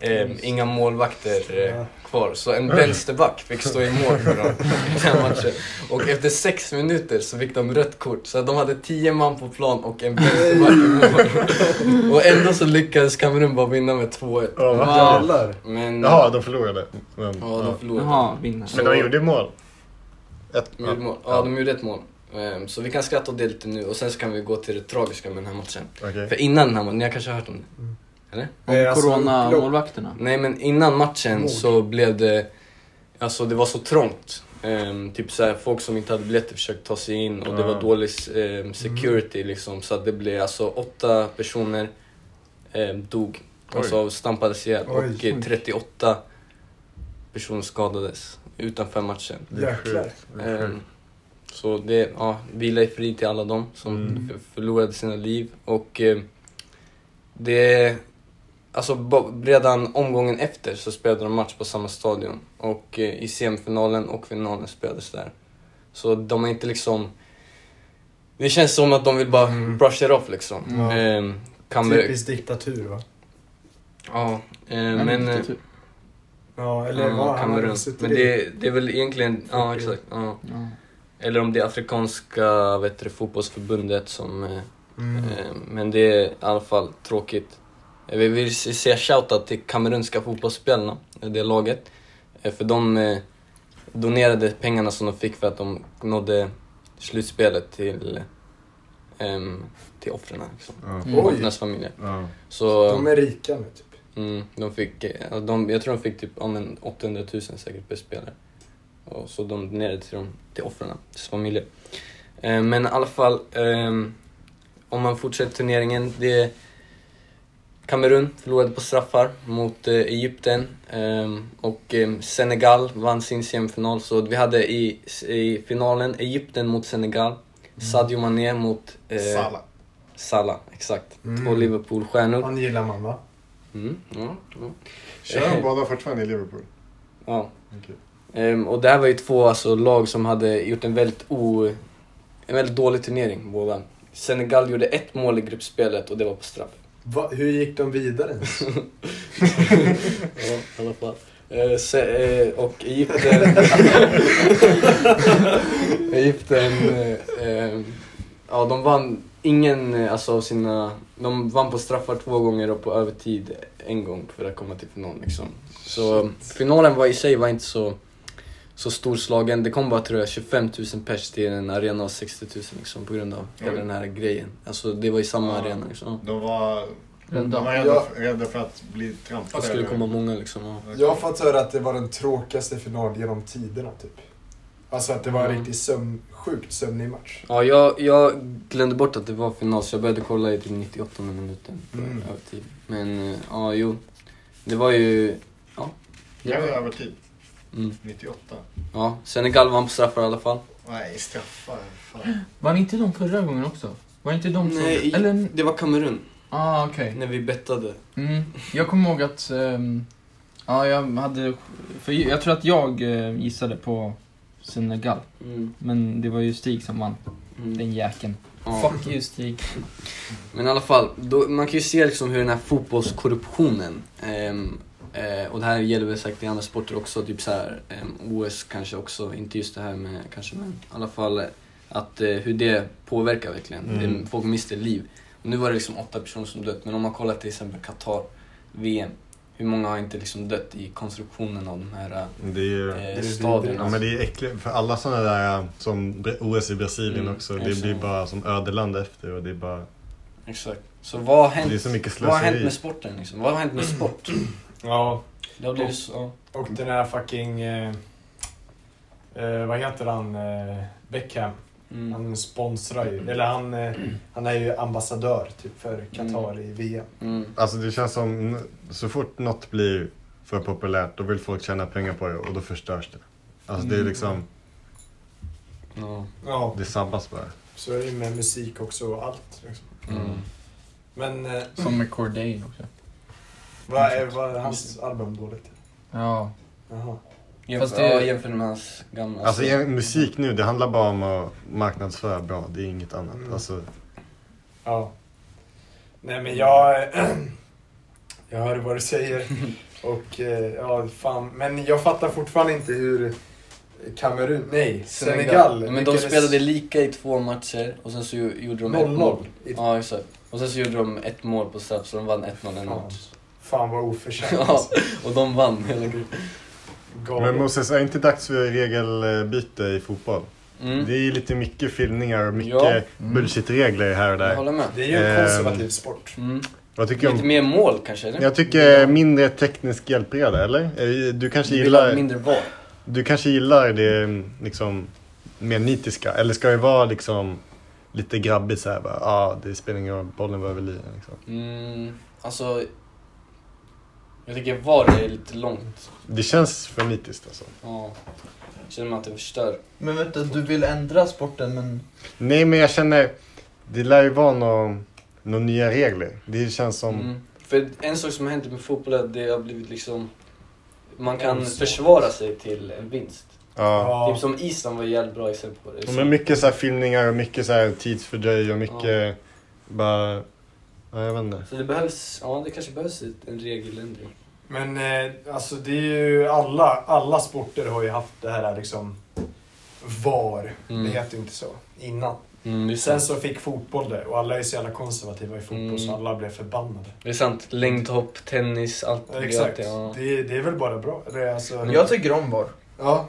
Speaker 3: ehm, inga målvakter eh, kvar. Så en vänsterback fick stå i mål för dem i den här matchen. Och efter sex minuter så fick de rött kort. Så de hade tio man på plan och en vänsterback i mål. Och ändå så lyckades Kamerun bara vinna med 2-1.
Speaker 4: Ja, vad
Speaker 5: Wow.
Speaker 4: jävlar.
Speaker 3: Men...
Speaker 4: Jaha, de förlorade. Men,
Speaker 3: Ja, de förlorade.
Speaker 5: Jaha, vinnare.
Speaker 4: men de gjorde mål. Ett,
Speaker 3: De gjorde mål. Ja, de gjorde ett mål. Ehm, Så vi kan skratta åt det lite nu och sen så kan vi gå till det tragiska med den här matchen.
Speaker 4: okej.
Speaker 3: För innan den här matchen, ni har kanske hört om det? Eller?
Speaker 2: Eh,
Speaker 5: Om
Speaker 2: alltså,
Speaker 5: Corona-målvakterna.
Speaker 3: Nej men innan matchen så blev det, alltså det var så trångt. Ehm, typ såhär, folk som inte hade biljetter försökte ta sig in och det var
Speaker 4: Ah.
Speaker 3: dålig ehm, security liksom. Så att det blev alltså åtta personer ehm, dog, alltså stampades ihjäl
Speaker 2: Oj.
Speaker 3: och eh, 38 personer skadades utanför matchen.
Speaker 4: Det är
Speaker 2: Jäklar.
Speaker 4: sjukt. Det är
Speaker 3: Ehm,
Speaker 4: sjukt.
Speaker 3: så det, ja, vila i frid till alla dem som
Speaker 2: Mm.
Speaker 3: f- förlorade sina liv. Och eh, det, alltså ba- redan omgången efter så spelade de match på samma stadion. Och eh, i semifinalen och finalen spelades där. Så de är inte liksom, det känns som att de vill bara brush it off liksom.
Speaker 2: Mm. Ja.
Speaker 3: Ehm, kan vi,
Speaker 2: Typisk diktatur va?
Speaker 3: ja, eh, men... eh,
Speaker 5: Typ.
Speaker 2: Ja, eller vad? Alltså, typ. Han
Speaker 3: Ja,
Speaker 2: har
Speaker 3: Mm, Kamerun.
Speaker 2: väl suttit
Speaker 3: Men
Speaker 2: i-
Speaker 3: det, det är väl egentligen, ja exakt. Ja.
Speaker 5: Ja.
Speaker 3: Eller om det är Afrikanska vet du, fotbollsförbundet som... eh,
Speaker 2: Mm.
Speaker 3: Eh, Men det är i alla fall tråkigt. Eh, Vi vill se- säga shoutout till kamerunska fotbollsspelarna, eh, det laget. Eh, För de eh, donerade pengarna som de fick för att de nådde slutspelet till, ehm, till offren. Liksom.
Speaker 2: Oj.
Speaker 3: Offrens familjer.
Speaker 4: Ja.
Speaker 3: Så,
Speaker 2: De är rika nu typ.
Speaker 3: mm, de fick, eh, de, jag tror de fick typ ja, men 800 000 säkert per spelare. Och så de donerade till, dem, till offren, till sina familjer. Eh, men i alla fall, ehm, om man fortsätter turneringen. Det Kamerun förlorade på straffar mot eh, Egypten ehm, och eh, Senegal vann sin semifinal. Så vi hade i, i finalen Egypten mot Senegal, Sadio Mané mot eh,
Speaker 4: Salah.
Speaker 3: Salah, exakt. Två
Speaker 2: Mm.
Speaker 3: Liverpool-stjärnor.
Speaker 2: Han gillar man va?
Speaker 3: Mm, ja, ja.
Speaker 4: Kör de båda fortfarande i Liverpool?
Speaker 3: Ja. Ehm, och det här var ju två alltså, lag som hade gjort en väldigt, o, en väldigt dålig turnering båda. Senegal gjorde ett mål i gruppspelet och det var på straff.
Speaker 2: Va, hur gick de vidare ens?
Speaker 3: ja, i alla fall. Eh, se, eh, och Egypten... Egypten... Eh, eh, ja, de vann ingen eh, alltså, av sina... De vann på straffar två gånger och på övertid en gång för att komma till final. Liksom. Så finalen var i sig var inte så, så storslagen. Det kom bara tror jag 25 000 pers till en arena av 60 000 liksom, på grund av hela
Speaker 15: Oj.
Speaker 3: den här grejen. Alltså det var i samma
Speaker 15: Ja.
Speaker 3: arena liksom.
Speaker 15: De var, de
Speaker 3: Rädda.
Speaker 15: var rädda, rädda för att bli trampade.
Speaker 3: Det skulle
Speaker 15: eller?
Speaker 3: komma många liksom. Ja.
Speaker 2: Jag har fått höra att det var den tråkigaste final genom tiderna typ. Alltså att det var en riktigt sömn, sjukt sömnig match.
Speaker 3: Ja, jag, jag glömde bort att det var final så jag började kolla i typ 98 minuten på
Speaker 2: Mm.
Speaker 3: övertid. Men eh, ja, jo. Det var ju... Ja.
Speaker 15: Det var
Speaker 4: typ
Speaker 15: övertid.
Speaker 3: Mm.
Speaker 15: 98.
Speaker 3: Ja, Senegal vann på straffar i alla fall.
Speaker 15: Nej, straffar. Fan.
Speaker 5: Var inte de förra gången också? Var inte de som...
Speaker 3: Nej, i-
Speaker 5: Eller...
Speaker 3: det var Kamerun
Speaker 5: Ah, okej.
Speaker 3: när vi bettade.
Speaker 5: Mm. Jag kommer ihåg att... ehm, ja, jag hade... För jag tror att jag eh, gissade på Senegal.
Speaker 3: Mm.
Speaker 5: Men det var ju Stig som vann.
Speaker 3: Mm.
Speaker 5: Den jäkeln.
Speaker 3: Ja.
Speaker 5: Fuck you Stig.
Speaker 3: Men i alla fall, då, man kan ju se liksom hur den här fotbollskorruptionen, ehm, eh, och det här gäller väl säkert i andra sporter också, typ så här, ehm, OS kanske också, inte just det här med kanske, men i alla fall eh, att, eh, hur det påverkar verkligen.
Speaker 4: Mm.
Speaker 3: Det- Folk mister liv. Och nu var det liksom åtta personer som dött, men om man kollar till exempel Qatar, VM, hur många har inte liksom dött i konstruktionen av de här
Speaker 4: Det är ju...
Speaker 3: eh, stadierna?
Speaker 4: Ja, men det är äckligt, för alla sådana där eh, som Bre- OS i Brasilien
Speaker 3: Mm,
Speaker 4: också, det
Speaker 3: exakt.
Speaker 4: blir bara som ödeland efter och det är bara...
Speaker 3: Exakt. Så vad har hänt,
Speaker 4: Det är så mycket
Speaker 3: vad har hänt
Speaker 4: slöseri.
Speaker 3: med sporten liksom? Vad har hänt med sport?
Speaker 2: Ja,
Speaker 3: Det har blivit så, ja.
Speaker 2: och den här fucking... Eh, eh, vad heter han? Eh, Beckham.
Speaker 3: Mm.
Speaker 2: Han sponsrar ju, eller han, eh, han är ju ambassadör typ för Qatar i VM.
Speaker 3: Mm.
Speaker 4: Alltså det känns som, så fort något blir för populärt då vill folk tjäna pengar på det och då förstörs det. Alltså
Speaker 3: Mm.
Speaker 4: det är liksom,
Speaker 3: Ja.
Speaker 2: Ja,
Speaker 4: det sabbas bara.
Speaker 2: så är det ju med musik också och allt. Liksom.
Speaker 3: Mm.
Speaker 2: Men eh,
Speaker 5: Som med Corday också.
Speaker 2: vad är, vad är hans album dåligt?
Speaker 5: Ja.
Speaker 2: Jaha.
Speaker 3: Jämför,
Speaker 5: Fast det-
Speaker 3: ja, jämför med hans gamla.
Speaker 4: Alltså ja, musik nu, det handlar bara om att marknadsföra bra, det är inget annat.
Speaker 2: Mm.
Speaker 4: Alltså,
Speaker 2: Ja. Nej men jag... jag hör vad du säger. Och eh, ja, fan. Men jag fattar fortfarande inte hur Kamerun, nej, Senegal.
Speaker 3: Men de
Speaker 2: lyckades-
Speaker 3: spelade lika i två matcher och sen så ju- gjorde de ett
Speaker 2: 0-0.
Speaker 3: mål.
Speaker 2: I-
Speaker 3: Ja, exakt. Och sen så gjorde de ett mål på straff så de vann 1-0 en
Speaker 2: Fan.
Speaker 3: match.
Speaker 2: Fan vad oförtjänt.
Speaker 3: Ja, och de vann hela gruppen.
Speaker 4: men
Speaker 2: Galet.
Speaker 4: Moses, är inte dags för regelbyte i fotboll?
Speaker 3: Mm.
Speaker 4: Det är lite mycket filmningar och mycket
Speaker 3: Ja. Mm.
Speaker 4: bullshit-regler här och
Speaker 3: Jag
Speaker 4: där.
Speaker 3: håller med.
Speaker 2: Det är ju en
Speaker 4: Ehm.
Speaker 2: konservativ sport.
Speaker 3: Mm.
Speaker 4: Vad tycker du
Speaker 3: Lite
Speaker 4: om
Speaker 3: mer mål kanske? Eller?
Speaker 4: Jag tycker mindre teknisk hjälpreda, eller? Eh, Du kanske
Speaker 3: Vi vill ha
Speaker 4: gillar,
Speaker 3: mindre VAR.
Speaker 4: du kanske gillar det mm, liksom, mer nitiska, eller ska det vara liksom lite grabbigt såhär bara, ah, det spelar ingen roll, bollen var över linjen liksom.
Speaker 3: Mm. Alltså, jag tycker VAR är lite långt.
Speaker 4: Det känns för nitiskt alltså.
Speaker 3: Ja. Känner man att det förstör.
Speaker 5: Men vänta, du vill ändra sporten men...
Speaker 4: Nej men jag känner, det lär ju vara nå- några nya regler. Det känns som,
Speaker 3: Mm. För en sak som har hänt med fotboll är att det har blivit liksom... Man kan
Speaker 2: Omsorg.
Speaker 3: försvara sig till en vinst.
Speaker 4: ja.
Speaker 2: Ja.
Speaker 3: Typ som Island var ett jävligt bra exempel på det.
Speaker 4: Men mycket så här filmningar och mycket så här tidsfördröj och mycket bara, ja jag vet inte.
Speaker 3: Så det behövs, ja det kanske behövs ett- en regeländring.
Speaker 2: Men eh, alltså det är ju alla, alla sporter har ju haft det här liksom VAR.
Speaker 3: Mm.
Speaker 2: Det heter ju inte så innan. Sen så fick fotboll det och alla är så jävla konservativa i fotboll
Speaker 3: Mm.
Speaker 2: så alla blev förbannade.
Speaker 3: Det är sant. Längdhopp, tennis, allt. det är
Speaker 2: Exakt.
Speaker 3: alltid, Ja.
Speaker 2: Det, det är väl bara bra. Det är alltså,
Speaker 5: Jag tycker om VAR.
Speaker 2: ja,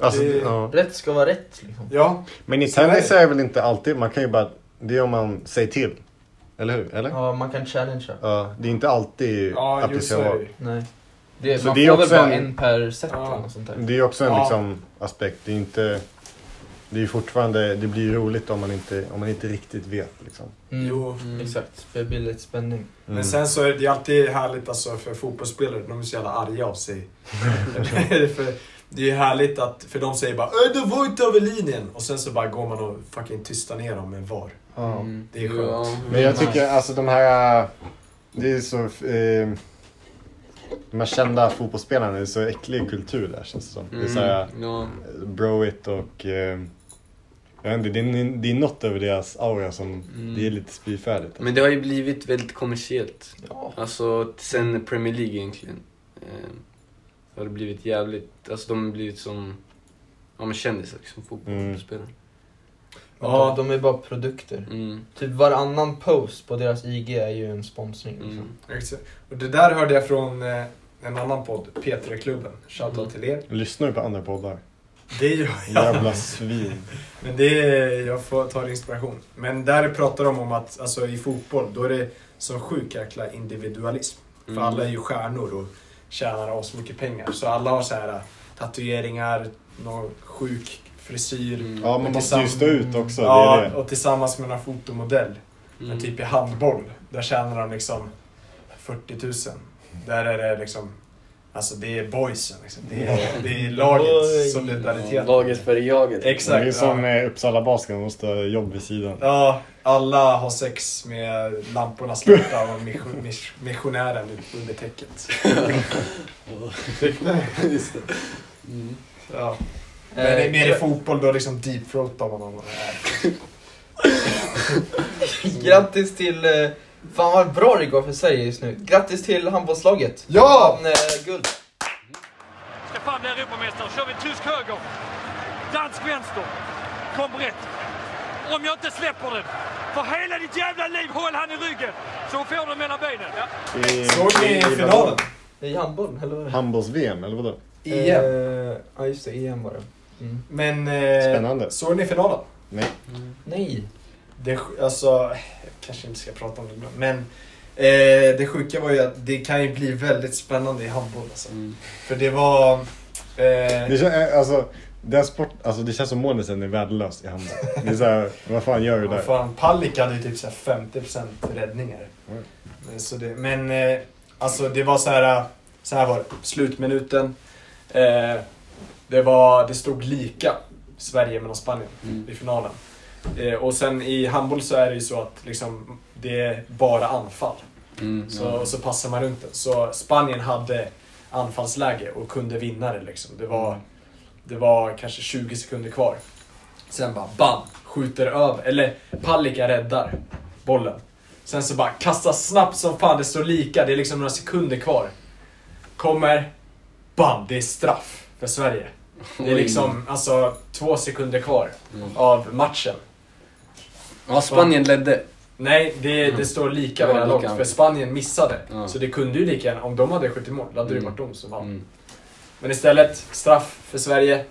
Speaker 4: Alltså,
Speaker 2: Det-
Speaker 4: ja.
Speaker 5: Rätt ska vara rätt liksom.
Speaker 2: ja,
Speaker 4: Men i
Speaker 2: Så är det.
Speaker 4: tennis är det väl inte alltid, man kan ju bara, det är om man säger till. Eller hur? Eller? Ja.
Speaker 5: Ja, man kan challengea.
Speaker 4: det är inte alltid
Speaker 2: ja
Speaker 4: att det
Speaker 2: just
Speaker 4: ska
Speaker 2: så är
Speaker 4: vara.
Speaker 2: det ju.
Speaker 5: Nej. Det,
Speaker 4: Så
Speaker 5: man
Speaker 4: det är
Speaker 5: får väl
Speaker 4: också
Speaker 5: bara
Speaker 4: en-
Speaker 5: en per set
Speaker 2: Ja.
Speaker 5: eller något sånt där.
Speaker 4: Det är också en
Speaker 2: Ja.
Speaker 4: liksom, aspekt, det är inte... Det är ju fortfarande, det blir ju roligt om man inte, om man inte riktigt vet liksom.
Speaker 5: Mm.
Speaker 2: Jo.
Speaker 5: Mm. Exakt, det blir lite spänning.
Speaker 4: Mm.
Speaker 2: Men sen så är det alltid härligt alltså för fotbollsspelare, de är så jävla arga av sig. för det är ju härligt att, för de säger bara "Äh, det var inte över linjen” och sen så bara går man och fucking tystar ner dem med VAR.
Speaker 3: Mm.
Speaker 2: Det är skönt.
Speaker 3: Ja.
Speaker 4: Men jag tycker alltså de här... Det är så... Eh, de här kända fotbollsspelarna, det är så äcklig kultur där känns det som. Det är såhär,
Speaker 16: Mm, ja.
Speaker 4: broit och... Eh, jag vet inte, det är, det är något över deras aura som,
Speaker 3: Mm.
Speaker 4: det är lite spyfärdigt.
Speaker 3: Men det har ju blivit väldigt kommersiellt. Alltså sen Premier League egentligen. Eh, har det blivit jävligt, alltså de har blivit som ja, men kändisar, liksom, fotbollsspelare.
Speaker 2: Mm. Ja.
Speaker 5: De, de är bara produkter.
Speaker 3: Mm.
Speaker 5: Typ varannan post på deras IG är ju en sponsring. Liksom.
Speaker 3: Mm.
Speaker 2: Exakt. Och det där hörde jag från eh, en annan podd, P3-klubben. Shoutout till er.
Speaker 4: Lyssnar du på andra poddar?
Speaker 2: Det gör
Speaker 4: Jävla svin.
Speaker 2: Men det är, jag får ta inspiration. Men där pratar de om att alltså, i fotboll, då är det som sjuk jäkla individualism.
Speaker 3: Mm.
Speaker 2: För alla är ju stjärnor och tjänar så mycket pengar. Så alla har så här äh, tatueringar, någon sjuk
Speaker 3: Mm.
Speaker 2: frisyr.
Speaker 4: Ja, man
Speaker 2: Och
Speaker 4: måste ju
Speaker 2: tillsamm-
Speaker 4: stå ut också.
Speaker 2: ja,
Speaker 4: Mm. Det Mm. är det.
Speaker 2: och tillsammans med någon fotomodell.
Speaker 3: Mm.
Speaker 2: Men typ i handboll, där tjänar de liksom 40 000. Där är det liksom, alltså det är boysen liksom. Det är, det är laget, solidaritet.
Speaker 16: Laget för jaget.
Speaker 2: Exakt.
Speaker 4: det är som
Speaker 2: ja.
Speaker 4: ja. Uppsala Basket, man måste ha jobb vid sidan.
Speaker 2: Ja, alla har sex med lamporna släckta och mission- mis- missionären under täcket.
Speaker 16: Just det. Mm. eh,
Speaker 2: Ja. Men det är mer i fotboll, då liksom deepthroatar man honom. Mm.
Speaker 5: Grattis till... eh, Fan vad bra det går för Sverige just nu. Grattis till handbollslaget.
Speaker 2: Ja!
Speaker 5: Vann, eh, guld.
Speaker 1: Ska fan bli Europamästare. Kör vi tysk höger, dansk vänster, kom rätt. Om jag inte släpper den, för hela ditt jävla liv håll han i ryggen så får du mellan benen.
Speaker 4: I-
Speaker 2: Såg ni
Speaker 4: i- i-
Speaker 2: finalen?
Speaker 5: I handboll, eller vad är det?
Speaker 4: Handbolls-VM, eller vadå?
Speaker 2: Igen.
Speaker 5: Eh, Ja, just det. EM var det. Mm.
Speaker 2: Men eh,
Speaker 4: Spännande.
Speaker 2: såg ni finalen?
Speaker 4: Nej.
Speaker 5: Nej.
Speaker 2: Det, sj- alltså, jag kanske inte ska prata om det ibland, men eh, det sjuka var ju att det kan ju bli väldigt spännande i handboll alltså.
Speaker 16: Mm.
Speaker 2: För det var... Eh,
Speaker 4: Det känns, eh, alltså, den sport, alltså, det känns som månisen är värdelös i handboll. Det är såhär, vad fan gör du
Speaker 2: Vad
Speaker 4: där?
Speaker 2: fan, Pallik hade ju typ så här 50% räddningar.
Speaker 4: Mm.
Speaker 2: Men, så det, men eh, alltså det var så här, så här var det. Slutminuten. Eh, det, var, det stod lika Sverige mellan Spanien
Speaker 4: Mm.
Speaker 2: i finalen. Eh, och sen i handboll så är det ju så att liksom, det är bara anfall.
Speaker 3: Mm,
Speaker 2: Så, och så passar man runt den. Så Spanien hade anfallsläge och kunde vinna det. Liksom. Det,
Speaker 3: Mm.
Speaker 2: var, det var kanske 20 sekunder kvar. Sen bara bam! Skjuter över. Eller Palicka räddar bollen. Sen så bara kastas snabbt som fan. Det står lika. Det är liksom några sekunder kvar. Kommer. Bam! Det är straff för Sverige. Det är
Speaker 3: Oj. Mm.
Speaker 2: liksom alltså, två sekunder kvar av matchen.
Speaker 3: Ja, Spanien ledde.
Speaker 2: Nej, det, det står lika
Speaker 3: Mm. Det var
Speaker 2: varje
Speaker 3: lika.
Speaker 2: långt. För Spanien missade.
Speaker 3: Ja.
Speaker 2: Så det kunde ju lika gärna, om de hade skjutit mål, då hade det
Speaker 3: Mm.
Speaker 2: varit de som vann.
Speaker 3: Mm.
Speaker 2: Men istället, straff för Sverige.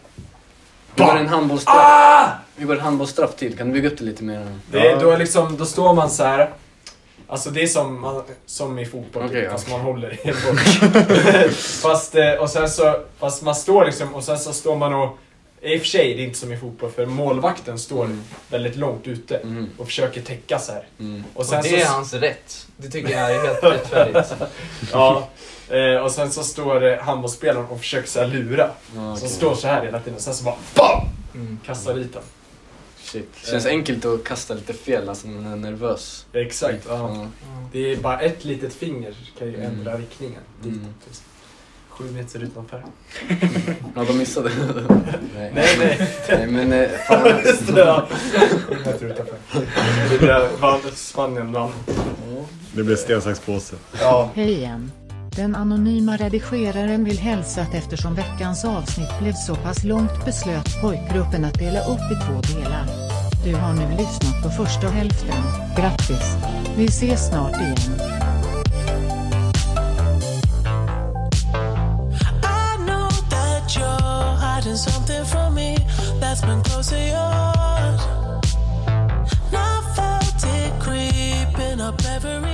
Speaker 3: Vi går en handbollsstraff.
Speaker 2: Ah!
Speaker 3: Vi går en handbollsstraff till, kan du bygga upp det lite mer?
Speaker 2: Det,
Speaker 4: Ja.
Speaker 2: då, är liksom, då står man så här. Alltså det är som, man, som i fotboll, typ,
Speaker 3: Okej, ja.
Speaker 2: fast man håller i en boll. fast, eh, och sen så, fast man står liksom, och sen så står man och... I och för sig, det är inte som i fotboll, för målvakten står väldigt långt ute
Speaker 3: Mm.
Speaker 2: och försöker täcka så här.
Speaker 3: Mm.
Speaker 2: Och
Speaker 5: Och
Speaker 2: sen
Speaker 5: det är
Speaker 2: så,
Speaker 5: hans rätt. Det tycker jag är helt rättfärdigt.
Speaker 2: Ja, eh, och sen så står eh, handbollsspelaren och försöker så här lura.
Speaker 3: Ja,
Speaker 2: Som
Speaker 3: okej.
Speaker 2: står så här hela tiden och sen så bara BAM!
Speaker 5: Mm.
Speaker 2: Kastar dit den.
Speaker 3: Shit. Känns enkelt att kasta lite fel alltså, när man är nervös.
Speaker 2: Exakt. Ja.
Speaker 3: Ja.
Speaker 2: Det är bara ett litet finger kan ju
Speaker 3: Mm.
Speaker 2: ändra riktningen.
Speaker 3: Mm.
Speaker 2: Dit. Sju meter utanför.
Speaker 3: Ja, de missade. nej.
Speaker 2: Nej, nej.
Speaker 3: nej, men eh, fan.
Speaker 2: Just det, ja. Sju meter utanför. Det där vann, Spanien vann.
Speaker 4: Det blir sten, sax, påse.
Speaker 2: Ja.
Speaker 17: Hej igen. Den anonyma redigeraren vill hälsa att eftersom veckans avsnitt blev så pass långt beslöt pojkgruppen att dela upp i två delar. Du har nu lyssnat på första hälften. Grattis! Vi ses snart igen.
Speaker 9: I know that you're hiding something from me that's been close to yours. And I felt it creeping up every